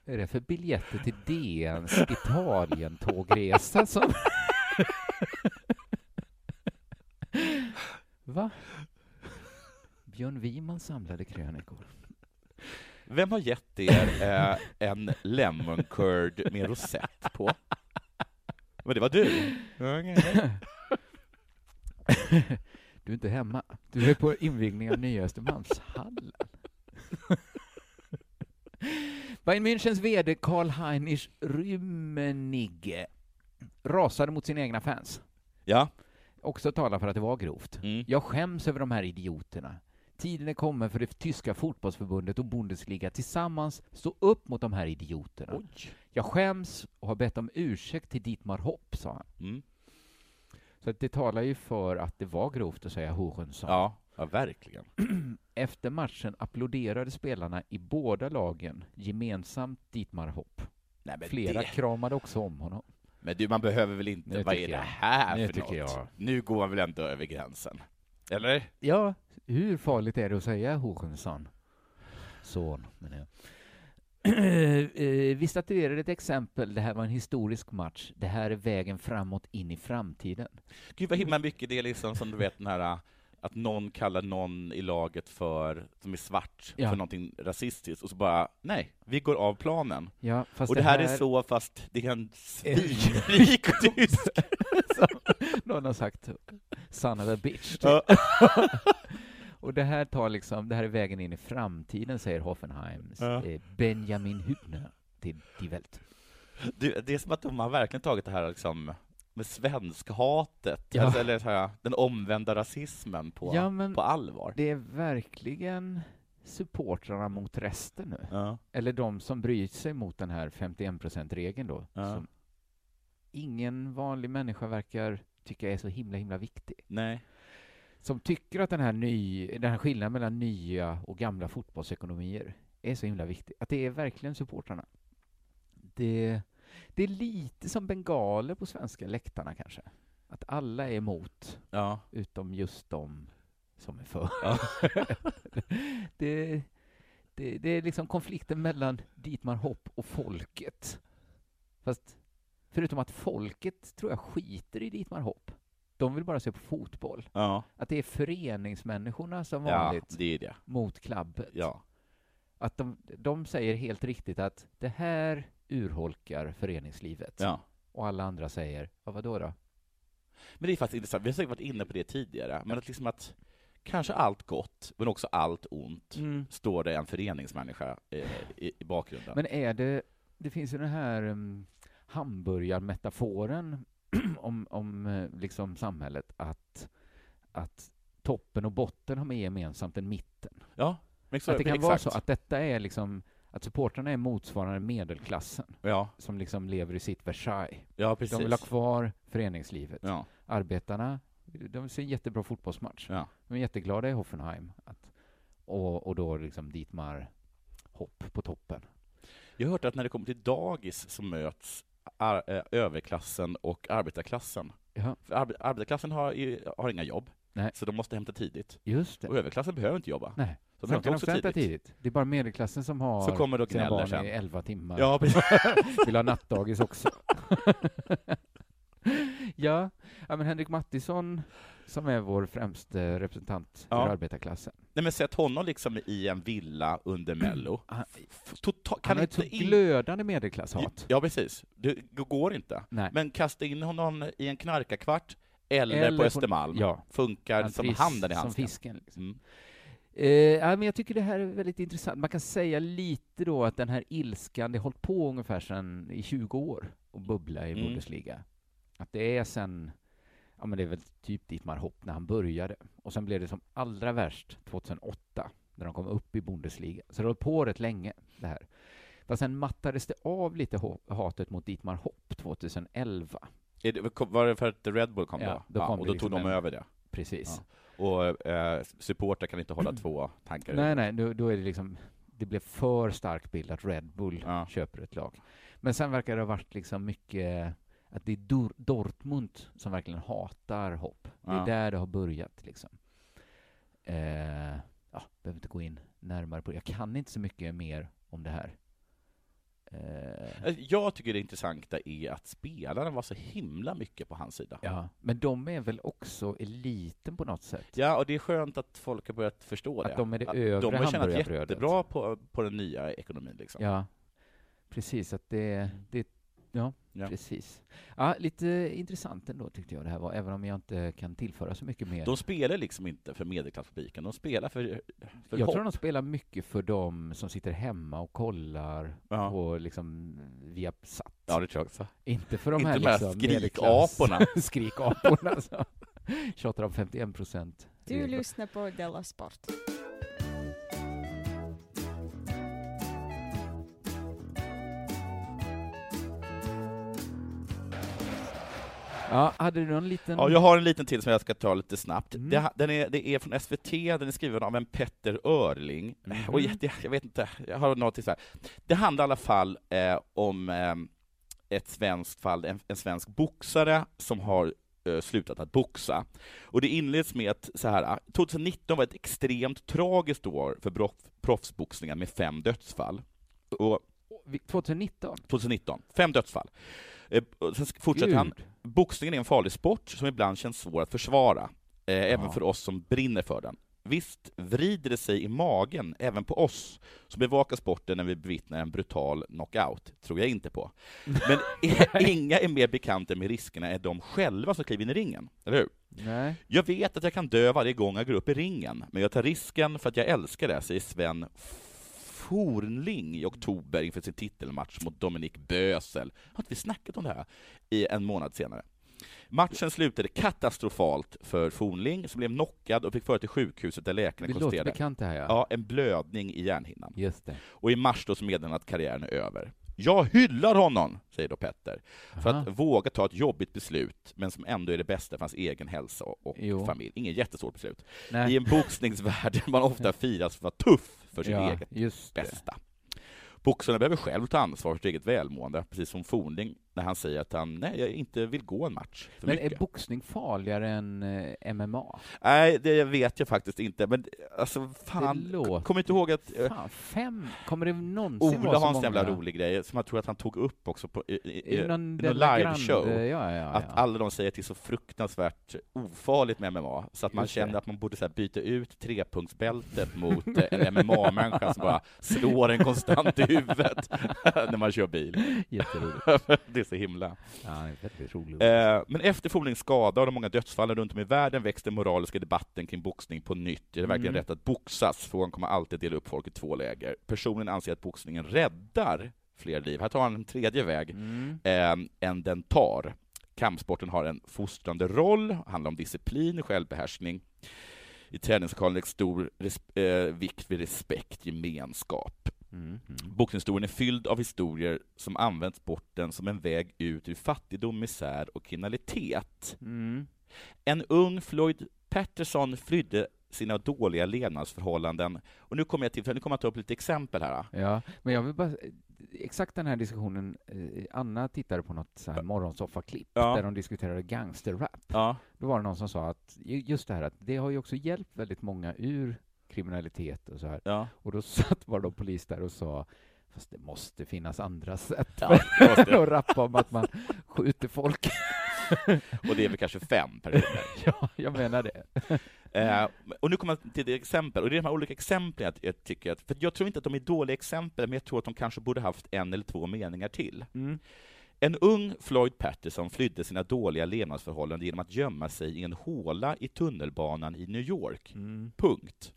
Speaker 6: Vad är det för biljetter till DNs Italien-tågresa som... Va? Björn Wiman samlade krönikor.
Speaker 7: Vem har gett er eh, en lemon curd med rosett på? Men det var du.
Speaker 6: Du är inte hemma. Du är på invigning av Nya Östermalmshallen. Bayern Münchens VD Karl-Heinrich Rummenigge rasade mot sina egna fans.
Speaker 7: Ja.
Speaker 6: Också talar för att det var grovt.
Speaker 7: Mm.
Speaker 6: Jag skäms över de här idioterna. Tiden är kommen för det tyska fotbollsförbundet och Bundesliga tillsammans stå upp mot de här idioterna. Jag skäms och har bett om ursäkt till Dietmar Hopp, sa han.
Speaker 7: Mm.
Speaker 6: Så att det talar ju för att det var grovt att säga Hohensson.
Speaker 7: Ja, ja verkligen.
Speaker 6: Efter matchen applåderade spelarna i båda lagen gemensamt Dietmar Hopp.
Speaker 7: Nej, men
Speaker 6: Flera
Speaker 7: det-
Speaker 6: kramade också om honom.
Speaker 7: Men du, man behöver väl inte,
Speaker 6: Nu
Speaker 7: vad är
Speaker 6: tycker
Speaker 7: det
Speaker 6: jag.
Speaker 7: här
Speaker 6: Nu
Speaker 7: för något?
Speaker 6: tycker jag.
Speaker 7: Nu går man väl ändå över gränsen? Eller?
Speaker 6: Ja, hur farligt är det att säga Hohensson? Son, menar jag. Eh, Vi statuerade ett exempel. Det här var en historisk match. Det här är vägen framåt in i framtiden.
Speaker 7: Gud vad himla mycket det är liksom som du vet den här att någon kallar någon i laget för, som är svart,
Speaker 6: Ja.
Speaker 7: för någonting rasistiskt och så bara, nej, vi går av planen.
Speaker 6: Ja, fast
Speaker 7: och det
Speaker 6: det
Speaker 7: här,
Speaker 6: här-
Speaker 7: är så, fast det är en svinrik tysk.
Speaker 6: Någon har sagt son of a bitch. typ.
Speaker 7: Ja.
Speaker 6: Och det här tar liksom, det här är vägen in i framtiden, säger Hoffenheims
Speaker 7: Ja.
Speaker 6: eh, Benjamin Hübner till Die Welt.
Speaker 7: Du, det är som att de har verkligen tagit det här liksom, med svenskhatet,
Speaker 6: Ja.
Speaker 7: alltså, eller så här, den omvända rasismen på,
Speaker 6: Ja, men-
Speaker 7: på allvar.
Speaker 6: Det är verkligen supportrarna mot resten nu.
Speaker 7: Ja.
Speaker 6: Eller de som bryr sig mot den här 51%-regeln då,
Speaker 7: Ja.
Speaker 6: som ingen vanlig människa verkar tycka är så himla, himla viktig.
Speaker 7: Nej.
Speaker 6: Som tycker att den här, ny, den här skillnaden mellan nya och gamla fotbollsekonomier är så himla viktig. Att det är verkligen supportrarna. Det, det är lite som bengaler på svenska läktarna kanske. Att alla är emot,
Speaker 7: Ja.
Speaker 6: utom just de som är för.
Speaker 7: Ja.
Speaker 6: det, det, det är liksom konflikten mellan Dietmar Hopp och folket. Fast förutom att folket tror jag skiter i Dietmar Hopp. De vill bara se på fotboll.
Speaker 7: Ja.
Speaker 6: Att det är föreningsmänniskorna som
Speaker 7: ja,
Speaker 6: vanligt
Speaker 7: det är det.
Speaker 6: mot klabbet.
Speaker 7: Ja.
Speaker 6: Att de, de säger helt riktigt att det här urholkar föreningslivet.
Speaker 7: Ja.
Speaker 6: Och alla andra säger, ja, vadå då?
Speaker 7: Men det är faktiskt intressant, vi har säkert varit inne på det tidigare, men att liksom att kanske allt gott, men också allt ont,
Speaker 6: Mm.
Speaker 7: står det en föreningsmänniska eh, i, i bakgrunden.
Speaker 6: Men är det, det finns ju den här um, hamburgarmetaforen om, om eh, liksom samhället, att, att toppen och botten har med gemensamt en mitten.
Speaker 7: ja,
Speaker 6: att det kan vara så att detta är liksom, att supportrarna är motsvarande medelklassen,
Speaker 7: Ja.
Speaker 6: som liksom lever i sitt Versailles.
Speaker 7: Ja,
Speaker 6: De
Speaker 7: precis.
Speaker 6: vill ha kvar föreningslivet.
Speaker 7: Ja.
Speaker 6: Arbetarna, de ser en jättebra fotbollsmatch.
Speaker 7: Ja.
Speaker 6: De är jätteglada i Hoffenheim. Att, och, och då liksom Dietmar Hopp på toppen.
Speaker 7: Jag har hört att när det kommer till dagis så möts ar- eh, överklassen och arbetarklassen.
Speaker 6: Jaha.
Speaker 7: För arbe- arbetarklassen har, ju- har inga jobb,
Speaker 6: Nej.
Speaker 7: så de måste hämta tidigt.
Speaker 6: Just det.
Speaker 7: Och överklassen behöver inte jobba.
Speaker 6: Nej. Så
Speaker 7: Så de hämtar
Speaker 6: kan
Speaker 7: också
Speaker 6: också hämta
Speaker 7: tidigt.
Speaker 6: tidigt. Det är bara medelklassen som har
Speaker 7: Så kommer det och
Speaker 6: sina
Speaker 7: gnäller
Speaker 6: barn
Speaker 7: sen.
Speaker 6: i elva timmar.
Speaker 7: Ja, precis.
Speaker 6: Vill ha nattdagis också. ja. ja, men Henrik Mattisson som är vår främste representant
Speaker 7: Ja.
Speaker 6: ur arbetarklassen.
Speaker 7: Nej men sett honom liksom i en villa under Mello. F- Total,
Speaker 6: Ah, Han
Speaker 7: kan
Speaker 6: har ett
Speaker 7: inte
Speaker 6: så glödande medelklasshat.
Speaker 7: Ja, precis. Det g- går inte.
Speaker 6: Nej.
Speaker 7: Men kasta in honom i en knarkarkvart eller,
Speaker 6: Eller
Speaker 7: på
Speaker 6: på-
Speaker 7: Östermalm.
Speaker 6: ja.
Speaker 7: Funkar
Speaker 6: Han
Speaker 7: som
Speaker 6: trivs
Speaker 7: handen i
Speaker 6: som
Speaker 7: handsken.
Speaker 6: fisken, liksom.
Speaker 7: Mm.
Speaker 6: Eh, ja, men jag tycker det här är väldigt intressant. Man kan säga lite då att den här ilskan, det har hållit på ungefär sedan i 20 år och bubbla i
Speaker 7: Mm.
Speaker 6: Bundesliga. Att det är sen, ja men det är väl typ dit man hopp när han började. Och sen blev det som allra värst 2008 när de kom upp i Bundesliga. Så det har hållit på rätt länge det här. Fast sen mattades det av lite ho- hatet mot Dietmar Hopp 2011.
Speaker 7: Är det, kom- var det för att Red Bull kom
Speaker 6: Ja,
Speaker 7: då?
Speaker 6: då kom
Speaker 7: ja, och
Speaker 6: det
Speaker 7: då
Speaker 6: liksom
Speaker 7: tog de
Speaker 6: en-
Speaker 7: över det?
Speaker 6: Precis.
Speaker 7: Ja. Och eh, supportrar kan inte hålla två tankar i
Speaker 6: Nej, nej, då, då är det liksom det blev för stark bild att Red Bull köper ett lag. Men sen verkar det ha varit liksom mycket att det är Dor- Dortmund som verkligen hatar hopp. Det är
Speaker 7: Ja.
Speaker 6: där det har börjat liksom. Eh, ja, behöver inte gå in närmare på det. Jag kan inte så mycket mer om det här. Eh,
Speaker 7: Eh, Jag tycker det intressanta är att spelarna var så himla mycket på hans sida.
Speaker 6: ja, men de är väl också eliten på något sätt?
Speaker 7: Ja, och det är skönt att folk har börjat förstå
Speaker 6: Att
Speaker 7: det.
Speaker 6: de är det
Speaker 7: Att
Speaker 6: övre
Speaker 7: De har tjänat
Speaker 6: hamburgerbrödet.
Speaker 7: jättebra på, på den nya ekonomin. Liksom.
Speaker 6: Ja, precis. Att det, det, ja,
Speaker 7: Mm. Ja.
Speaker 6: precis. Ja, lite intressant ändå tyckte jag det här var, även om jag inte kan tillföra så mycket mer.
Speaker 7: De spelar liksom inte för medelklasspubliken, de spelar för, för
Speaker 6: jag
Speaker 7: hopp.
Speaker 6: tror de spelar mycket för de som sitter hemma och kollar på liksom Viasat.
Speaker 7: Ja, det tror jag också.
Speaker 6: Inte för de
Speaker 7: Inte
Speaker 6: här
Speaker 7: de här
Speaker 6: liksom
Speaker 7: skrikaporna.
Speaker 6: medelklass- skrikaporna alltså. som tjatar om 51 procent.
Speaker 8: Du lyssnar på Della Sport.
Speaker 6: Ja, hade du någon liten...
Speaker 7: Ja, jag har en liten till som jag ska ta lite snabbt. Det, den är, det är från SVT, den är skriven av en Petter Örling.
Speaker 6: Mhm.
Speaker 7: Och jätte, jag vet inte, jag har något så här. Det handlar i alla fall eh, om eh, ett svenskt fall, en, en svensk boxare som har eh, slutat att boxa. Och det inleds med att så här, 2019 var ett extremt tragiskt år för broff, proffsboxningen med fem dödsfall. Och
Speaker 6: 2019?
Speaker 7: 2019. Fem dödsfall. Eh, och Sen sk- fortsätter
Speaker 6: Gud.
Speaker 7: han. Boxningen är en farlig sport som ibland känns svår att försvara, eh, även för oss som brinner för den. Visst vrider det sig i magen även på oss som bevakar sporten när vi bevittnar en brutal knockout, tror jag inte på. Men inga är mer bekanta med riskerna än de själva som kliver in i ringen, eller hur?
Speaker 6: Nej.
Speaker 7: Jag vet att jag kan dö varje gång jag går upp i ringen, men jag tar risken för att jag älskar det, säger Sven Fornling i oktober inför sin titelmatch mot Dominik Bösel. Har inte vi snackat om det här? I en månad senare. Matchen slutade katastrofalt för Fornling, som blev knockad och fick föra till sjukhuset där läkarna
Speaker 6: Det låter
Speaker 7: konstaterade
Speaker 6: bekant det här, ja.
Speaker 7: ja, en blödning i hjärnhinnan.
Speaker 6: Just det.
Speaker 7: Och i mars då så meddelade han att karriären är över. Jag hyllar honom, säger då Petter, för
Speaker 6: Aha.
Speaker 7: att våga ta ett jobbigt beslut, men som ändå är det bästa för hans egen hälsa och och
Speaker 6: Jo.
Speaker 7: familj. Inget jättestort beslut.
Speaker 6: Nej.
Speaker 7: I en boxningsvärld där man ofta firas för att vara tuff för sitt
Speaker 6: Ja,
Speaker 7: eget bästa. Boxarna behöver själv ta ansvar för sitt eget välmående, precis som Fornling när han säger att han nej, jag inte vill gå en match för
Speaker 6: Men
Speaker 7: mycket.
Speaker 6: är boxning farligare än eh, MMA?
Speaker 7: Nej, det vet jag faktiskt inte, men alltså
Speaker 6: Det
Speaker 7: fan,
Speaker 6: låter-
Speaker 7: kommer inte ihåg att...
Speaker 6: Fan, fem? Kommer det någonsin
Speaker 7: Eh, Ola
Speaker 6: vara så
Speaker 7: har en
Speaker 6: många?
Speaker 7: sån jävla rolig grej som jag tror att han tog upp också på, i, i,
Speaker 6: I
Speaker 7: i
Speaker 6: någon
Speaker 7: någon
Speaker 6: Della
Speaker 7: liveshow.
Speaker 6: Grande, ja, ja, ja.
Speaker 7: Att alla de säger att det är så fruktansvärt ofarligt med MMA, så att man
Speaker 6: Just det.
Speaker 7: känner att man borde så här, byta ut trepunktsbältet mot eh, en MMA-människa som bara slår en konstant i huvudet när man kör bil.
Speaker 6: Jätteroligt.
Speaker 7: det är så himla.
Speaker 6: Ja, det är väldigt roligt.
Speaker 7: Eh, Men efter Fornings skada och de många dödsfallen runt om i världen växte den moraliska debatten kring boxning på nytt. Är det verkligen
Speaker 6: Mm.
Speaker 7: rätt att boxas? Frågan kommer alltid dela upp folk i två läger. Personligen anser att boxningen räddar fler liv. Här tar han en tredje väg
Speaker 6: Mm,
Speaker 7: eh, än den tar. Kampsporten har en fostrande roll, handlar om disciplin och självbehärskning. I träningslokalen läggs stor res- eh, vikt vid respekt, gemenskap.
Speaker 6: Mm, mm.
Speaker 7: Boxningshistorien är fylld av historier som använt sporten som en väg ut ur fattigdom, misär och kriminalitet.
Speaker 6: Mm.
Speaker 7: En ung Floyd Patterson flydde sina dåliga levnadsförhållanden. Och nu kommer jag till, för nu kommer jag ta upp lite exempel här.
Speaker 6: Ja, men jag vill bara... Exakt den här diskussionen, eh, Anna tittade på något så här morgonsoffa-klipp
Speaker 7: Ja.
Speaker 6: där de diskuterade gangsterrap.
Speaker 7: Ja.
Speaker 6: Då var det någon som sa att ju- just det här att det har ju också hjälpt väldigt många ur kriminalitet och så här. Och då satt bara de polis där och sa fast det måste finnas andra sätt
Speaker 7: det måste
Speaker 6: att rappa om att man skjuter folk.
Speaker 7: och det är väl kanske fem personer.
Speaker 6: ja, jag menar det. Mm.
Speaker 7: Eh, och nu kommer jag till det exempel, och det är de här olika exemplen jag, jag tycker att, för jag tror inte att de är dåliga exempel, men jag tror att de kanske borde haft en eller två meningar till.
Speaker 6: Mm.
Speaker 7: En ung Floyd Patterson flydde sina dåliga levnadsförhållanden genom att gömma sig i en håla i tunnelbanan i New York.
Speaker 6: Mm.
Speaker 7: Punkt.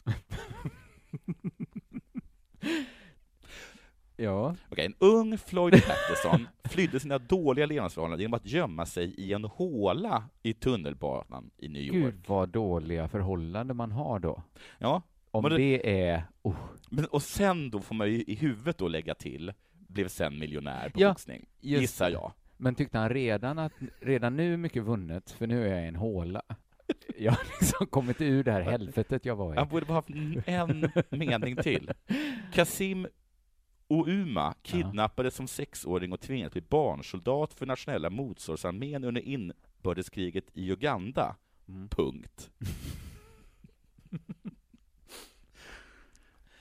Speaker 6: Ja.
Speaker 7: Okej, en ung Floyd Patterson flydde sina dåliga levnadsförhållanden genom att gömma sig i en håla i tunnelbanan i New York.
Speaker 6: Gud vad dåliga förhållanden man har då.
Speaker 7: Ja.
Speaker 6: Om
Speaker 7: men
Speaker 6: det,
Speaker 7: det-
Speaker 6: är... Oh.
Speaker 7: Men, och sen då får man ju i huvudet då lägga till, blev sen miljonär på
Speaker 6: Ja,
Speaker 7: boxning,
Speaker 6: just
Speaker 7: gissar
Speaker 6: det.
Speaker 7: jag.
Speaker 6: Men tyckte han redan att redan nu är mycket vunnet, för nu är jag i en håla. Jag har liksom kommit ur det här helvetet jag var i.
Speaker 7: Han borde bara haft en mening till. Kasim Ouma kidnappades som sexåring och tvingades bli barnsoldat för nationella motståndsarmén under inbördeskriget i Uganda.
Speaker 6: Mm.
Speaker 7: Punkt.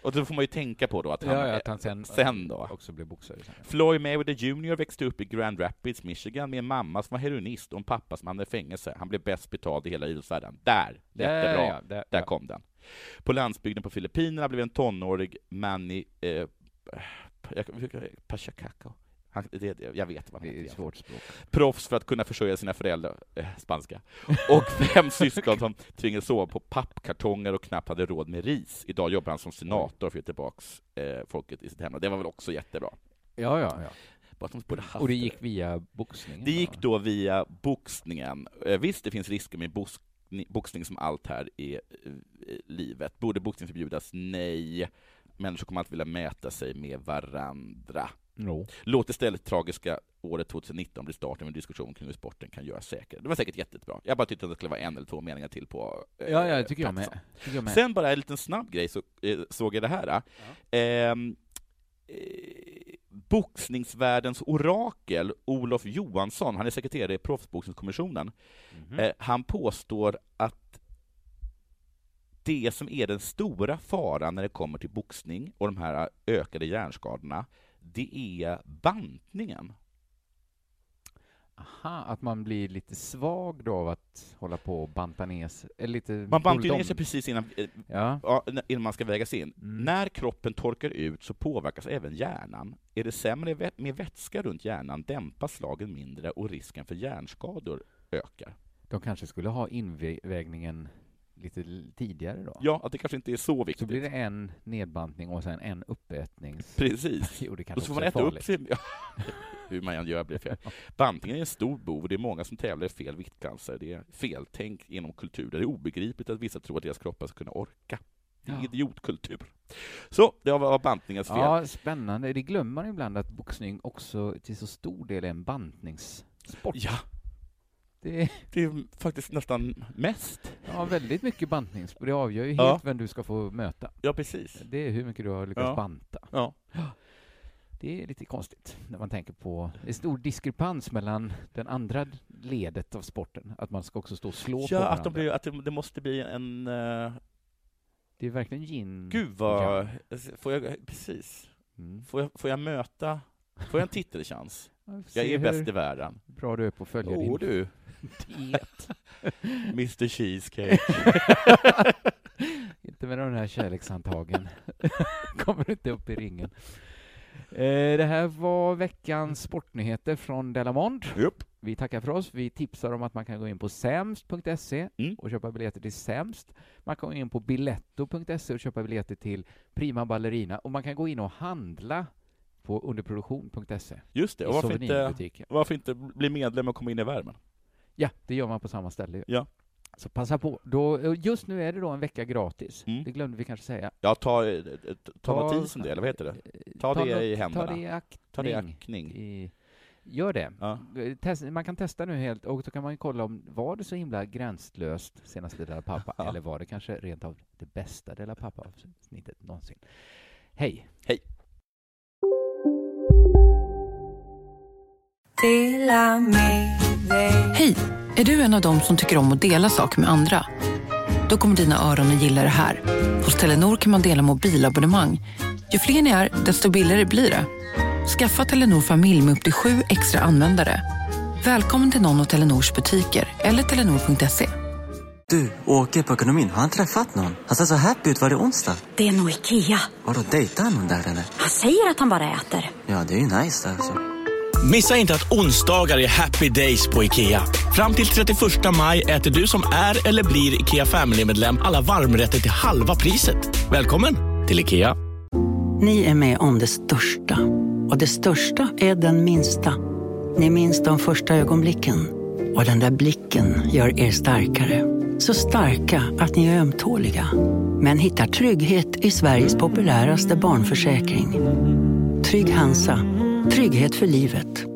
Speaker 7: och då får man ju tänka på då att han,
Speaker 6: Ja, ja, att han sen-
Speaker 7: då.
Speaker 6: Också blev boxare sen.
Speaker 7: Floyd Mayweather Jr växte upp i Grand Rapids, Michigan med en mamma som var heroinist och en pappa som hamnade i fängelse. Han blev bäst betald i hela idrottsvärlden. Där!
Speaker 6: Där,
Speaker 7: Jättebra.
Speaker 6: ja,
Speaker 7: där
Speaker 6: där, ja.
Speaker 7: kom den. På landsbygden på Filippinerna blev en tonårig Manny... Eh, Pachacacao. Han, det, det- jag vet vad han heter.
Speaker 6: Svårt språk.
Speaker 7: Proffs för att kunna försörja sina föräldrar, eh, spanska, och fem syskon som tvingades sova på pappkartonger och knappt hade råd med ris. Idag jobbar han som senator för att ge tillbaks eh, folket i sitt hemland. Det var väl också jättebra.
Speaker 6: Ja, ja, ja.
Speaker 7: Bara att de borde haft
Speaker 6: Och det gick via boxningen?
Speaker 7: Det gick då via boxningen. Eh, Visst, det finns risker med boxning, boxning som allt här i eh, livet. Borde boxning förbjudas? Nej. Människor kommer alltid vilja mäta sig med varandra.
Speaker 6: Jo.
Speaker 7: Låt istället tragiska året 2019 bli starten med en diskussion kring hur sporten kan göras säkrare. Det var säkert jättebra. Jag bara tyckte att det skulle vara en eller två meningar till på eh,
Speaker 6: Ja, ja, tycker jag med.
Speaker 7: platsen.
Speaker 6: Tycker jag med.
Speaker 7: Sen bara en liten snabb grej, så eh, såg jag det här. Ehm, Eh, boxningsvärldens orakel, Olof Johansson, han är sekreterare i Proffsboxningskommissionen, eh, han påstår att det som är den stora faran när det kommer till boxning och de här eh, ökade hjärnskadorna, det är bantningen.
Speaker 6: Aha, att man blir lite svag då av att hålla på och banta ner sig? Eller lite
Speaker 7: Man bantar ju ner
Speaker 6: bulldown.
Speaker 7: sig precis innan, eh,
Speaker 6: Ja.
Speaker 7: ja, n- innan man ska vägas in.
Speaker 6: Mm.
Speaker 7: När kroppen torkar ut så påverkas även hjärnan. Är det sämre vä- med vätska runt hjärnan dämpas slagen mindre och risken för hjärnskador ökar.
Speaker 6: De kanske skulle ha invägningen lite l- tidigare då?
Speaker 7: Ja, att det kanske inte är så viktigt.
Speaker 6: Så blir det en nedbantning och sen en uppätnings...
Speaker 7: Precis.
Speaker 6: Jo, det
Speaker 7: Då
Speaker 6: kanske också
Speaker 7: får man
Speaker 6: är
Speaker 7: äta upp
Speaker 6: farligt.
Speaker 7: sin... Ja, hur man än gör blir det fel. Bantningen är en stor bov och det är många som tävlar i fel viktklaser. Det är feltänk inom kultur där det är obegripligt att vissa tror att deras kroppar ska kunna orka. Det är
Speaker 6: Ja.
Speaker 7: idiotkultur. Så, det var bantningens fel.
Speaker 6: Ja, spännande. Det glömmer man ibland att boxning också till så stor del är en bantningssport.
Speaker 7: Ja.
Speaker 6: Det...
Speaker 7: det är faktiskt nästan mest.
Speaker 6: Ja, väldigt mycket bantningssport. Det avgör ju helt
Speaker 7: Ja.
Speaker 6: vem du ska få möta.
Speaker 7: Ja, precis.
Speaker 6: Det är hur mycket du har lyckats
Speaker 7: Ja.
Speaker 6: banta.
Speaker 7: Ja.
Speaker 6: Det är lite konstigt när man tänker på det är stor diskrepans mellan den andra ledet av sporten, att man ska också stå och slå på
Speaker 7: Ja,
Speaker 6: varandra.
Speaker 7: att, de blir, att det, det måste bli en... eh,
Speaker 6: Det är verkligen yin.
Speaker 7: Gud vad... Får jag, precis. Får, jag, får jag möta... Får jag en titelchans?
Speaker 6: Mm. Ja, vi får
Speaker 7: jag
Speaker 6: se
Speaker 7: är bäst
Speaker 6: hur
Speaker 7: i världen.
Speaker 6: bra du är på att följa
Speaker 7: Åh,
Speaker 6: din-
Speaker 7: du.
Speaker 6: Diet.
Speaker 7: Mr Cheesecake.
Speaker 6: inte med de här kärlekshandtagen. Kommer du inte upp i ringen. Eh, Det här var veckans sportnyheter från Delamond. Vi tackar för oss. Vi tipsar om att man kan gå in på sämst.se
Speaker 7: Mm.
Speaker 6: och köpa biljetter till Sämst. Man kan gå in på biletto.se och köpa biljetter till Prima Ballerina och man kan gå in och handla på underproduktion.se.
Speaker 7: Just det,
Speaker 6: I
Speaker 7: och varför
Speaker 6: souvenirbutiken.
Speaker 7: inte, varför inte bli medlem och komma in i värmen?
Speaker 6: Ja, det gör man på samma ställe. ju.
Speaker 7: Ja.
Speaker 6: Så passa på. Då, eh, just nu är det då en vecka gratis.
Speaker 7: Mm.
Speaker 6: Det glömde vi kanske säga. Eh,
Speaker 7: Ja, ta, eh, ta, ta matisen det, eller vad heter det? Ta,
Speaker 6: ta
Speaker 7: det
Speaker 6: något-
Speaker 7: i händerna.
Speaker 6: ta det i aktning.
Speaker 7: Ta det i aktning.
Speaker 6: Gör det. Eh,
Speaker 7: Ja.
Speaker 6: Test, man kan testa nu helt, och då kan man ju kolla om var det så himla gränslöst senaste Della Pappa, eller var det kanske rent av det bästa Della Pappa-avsnittet någonsin. Hej!
Speaker 7: Hej!
Speaker 9: Hej! Är du en av dem som tycker om att dela saker med andra? Då kommer dina öron att gilla det här. Hos Telenor kan man dela mobilabonnemang. Ju fler ni är, desto billigare blir det. Skaffa Telenor familj med upp till sju extra användare.
Speaker 12: Välkommen till någon av Telenors butiker eller telenor.se.
Speaker 2: Du, åker på ekonomin. Har han träffat någon? Han ser så happy ut. Var det onsdag?
Speaker 13: Det är nog Ikea.
Speaker 2: Har du dejtar han någon där eller?
Speaker 13: Han säger att han bara äter.
Speaker 2: Ja, det är ju nice alltså.
Speaker 14: Missa inte att onsdagar är happy days på IKEA. Fram till 31 maj äter du som är eller blir IKEA Family-medlem alla varmrätter till halva priset. Välkommen till IKEA.
Speaker 9: Ni är med om det största. Och det största är den minsta. Ni minns de första ögonblicken. Och den där blicken gör er starkare. Så starka att ni är ömtåliga. Men hittar trygghet i Sveriges populäraste barnförsäkring. Trygg Hansa. Trygghet för livet.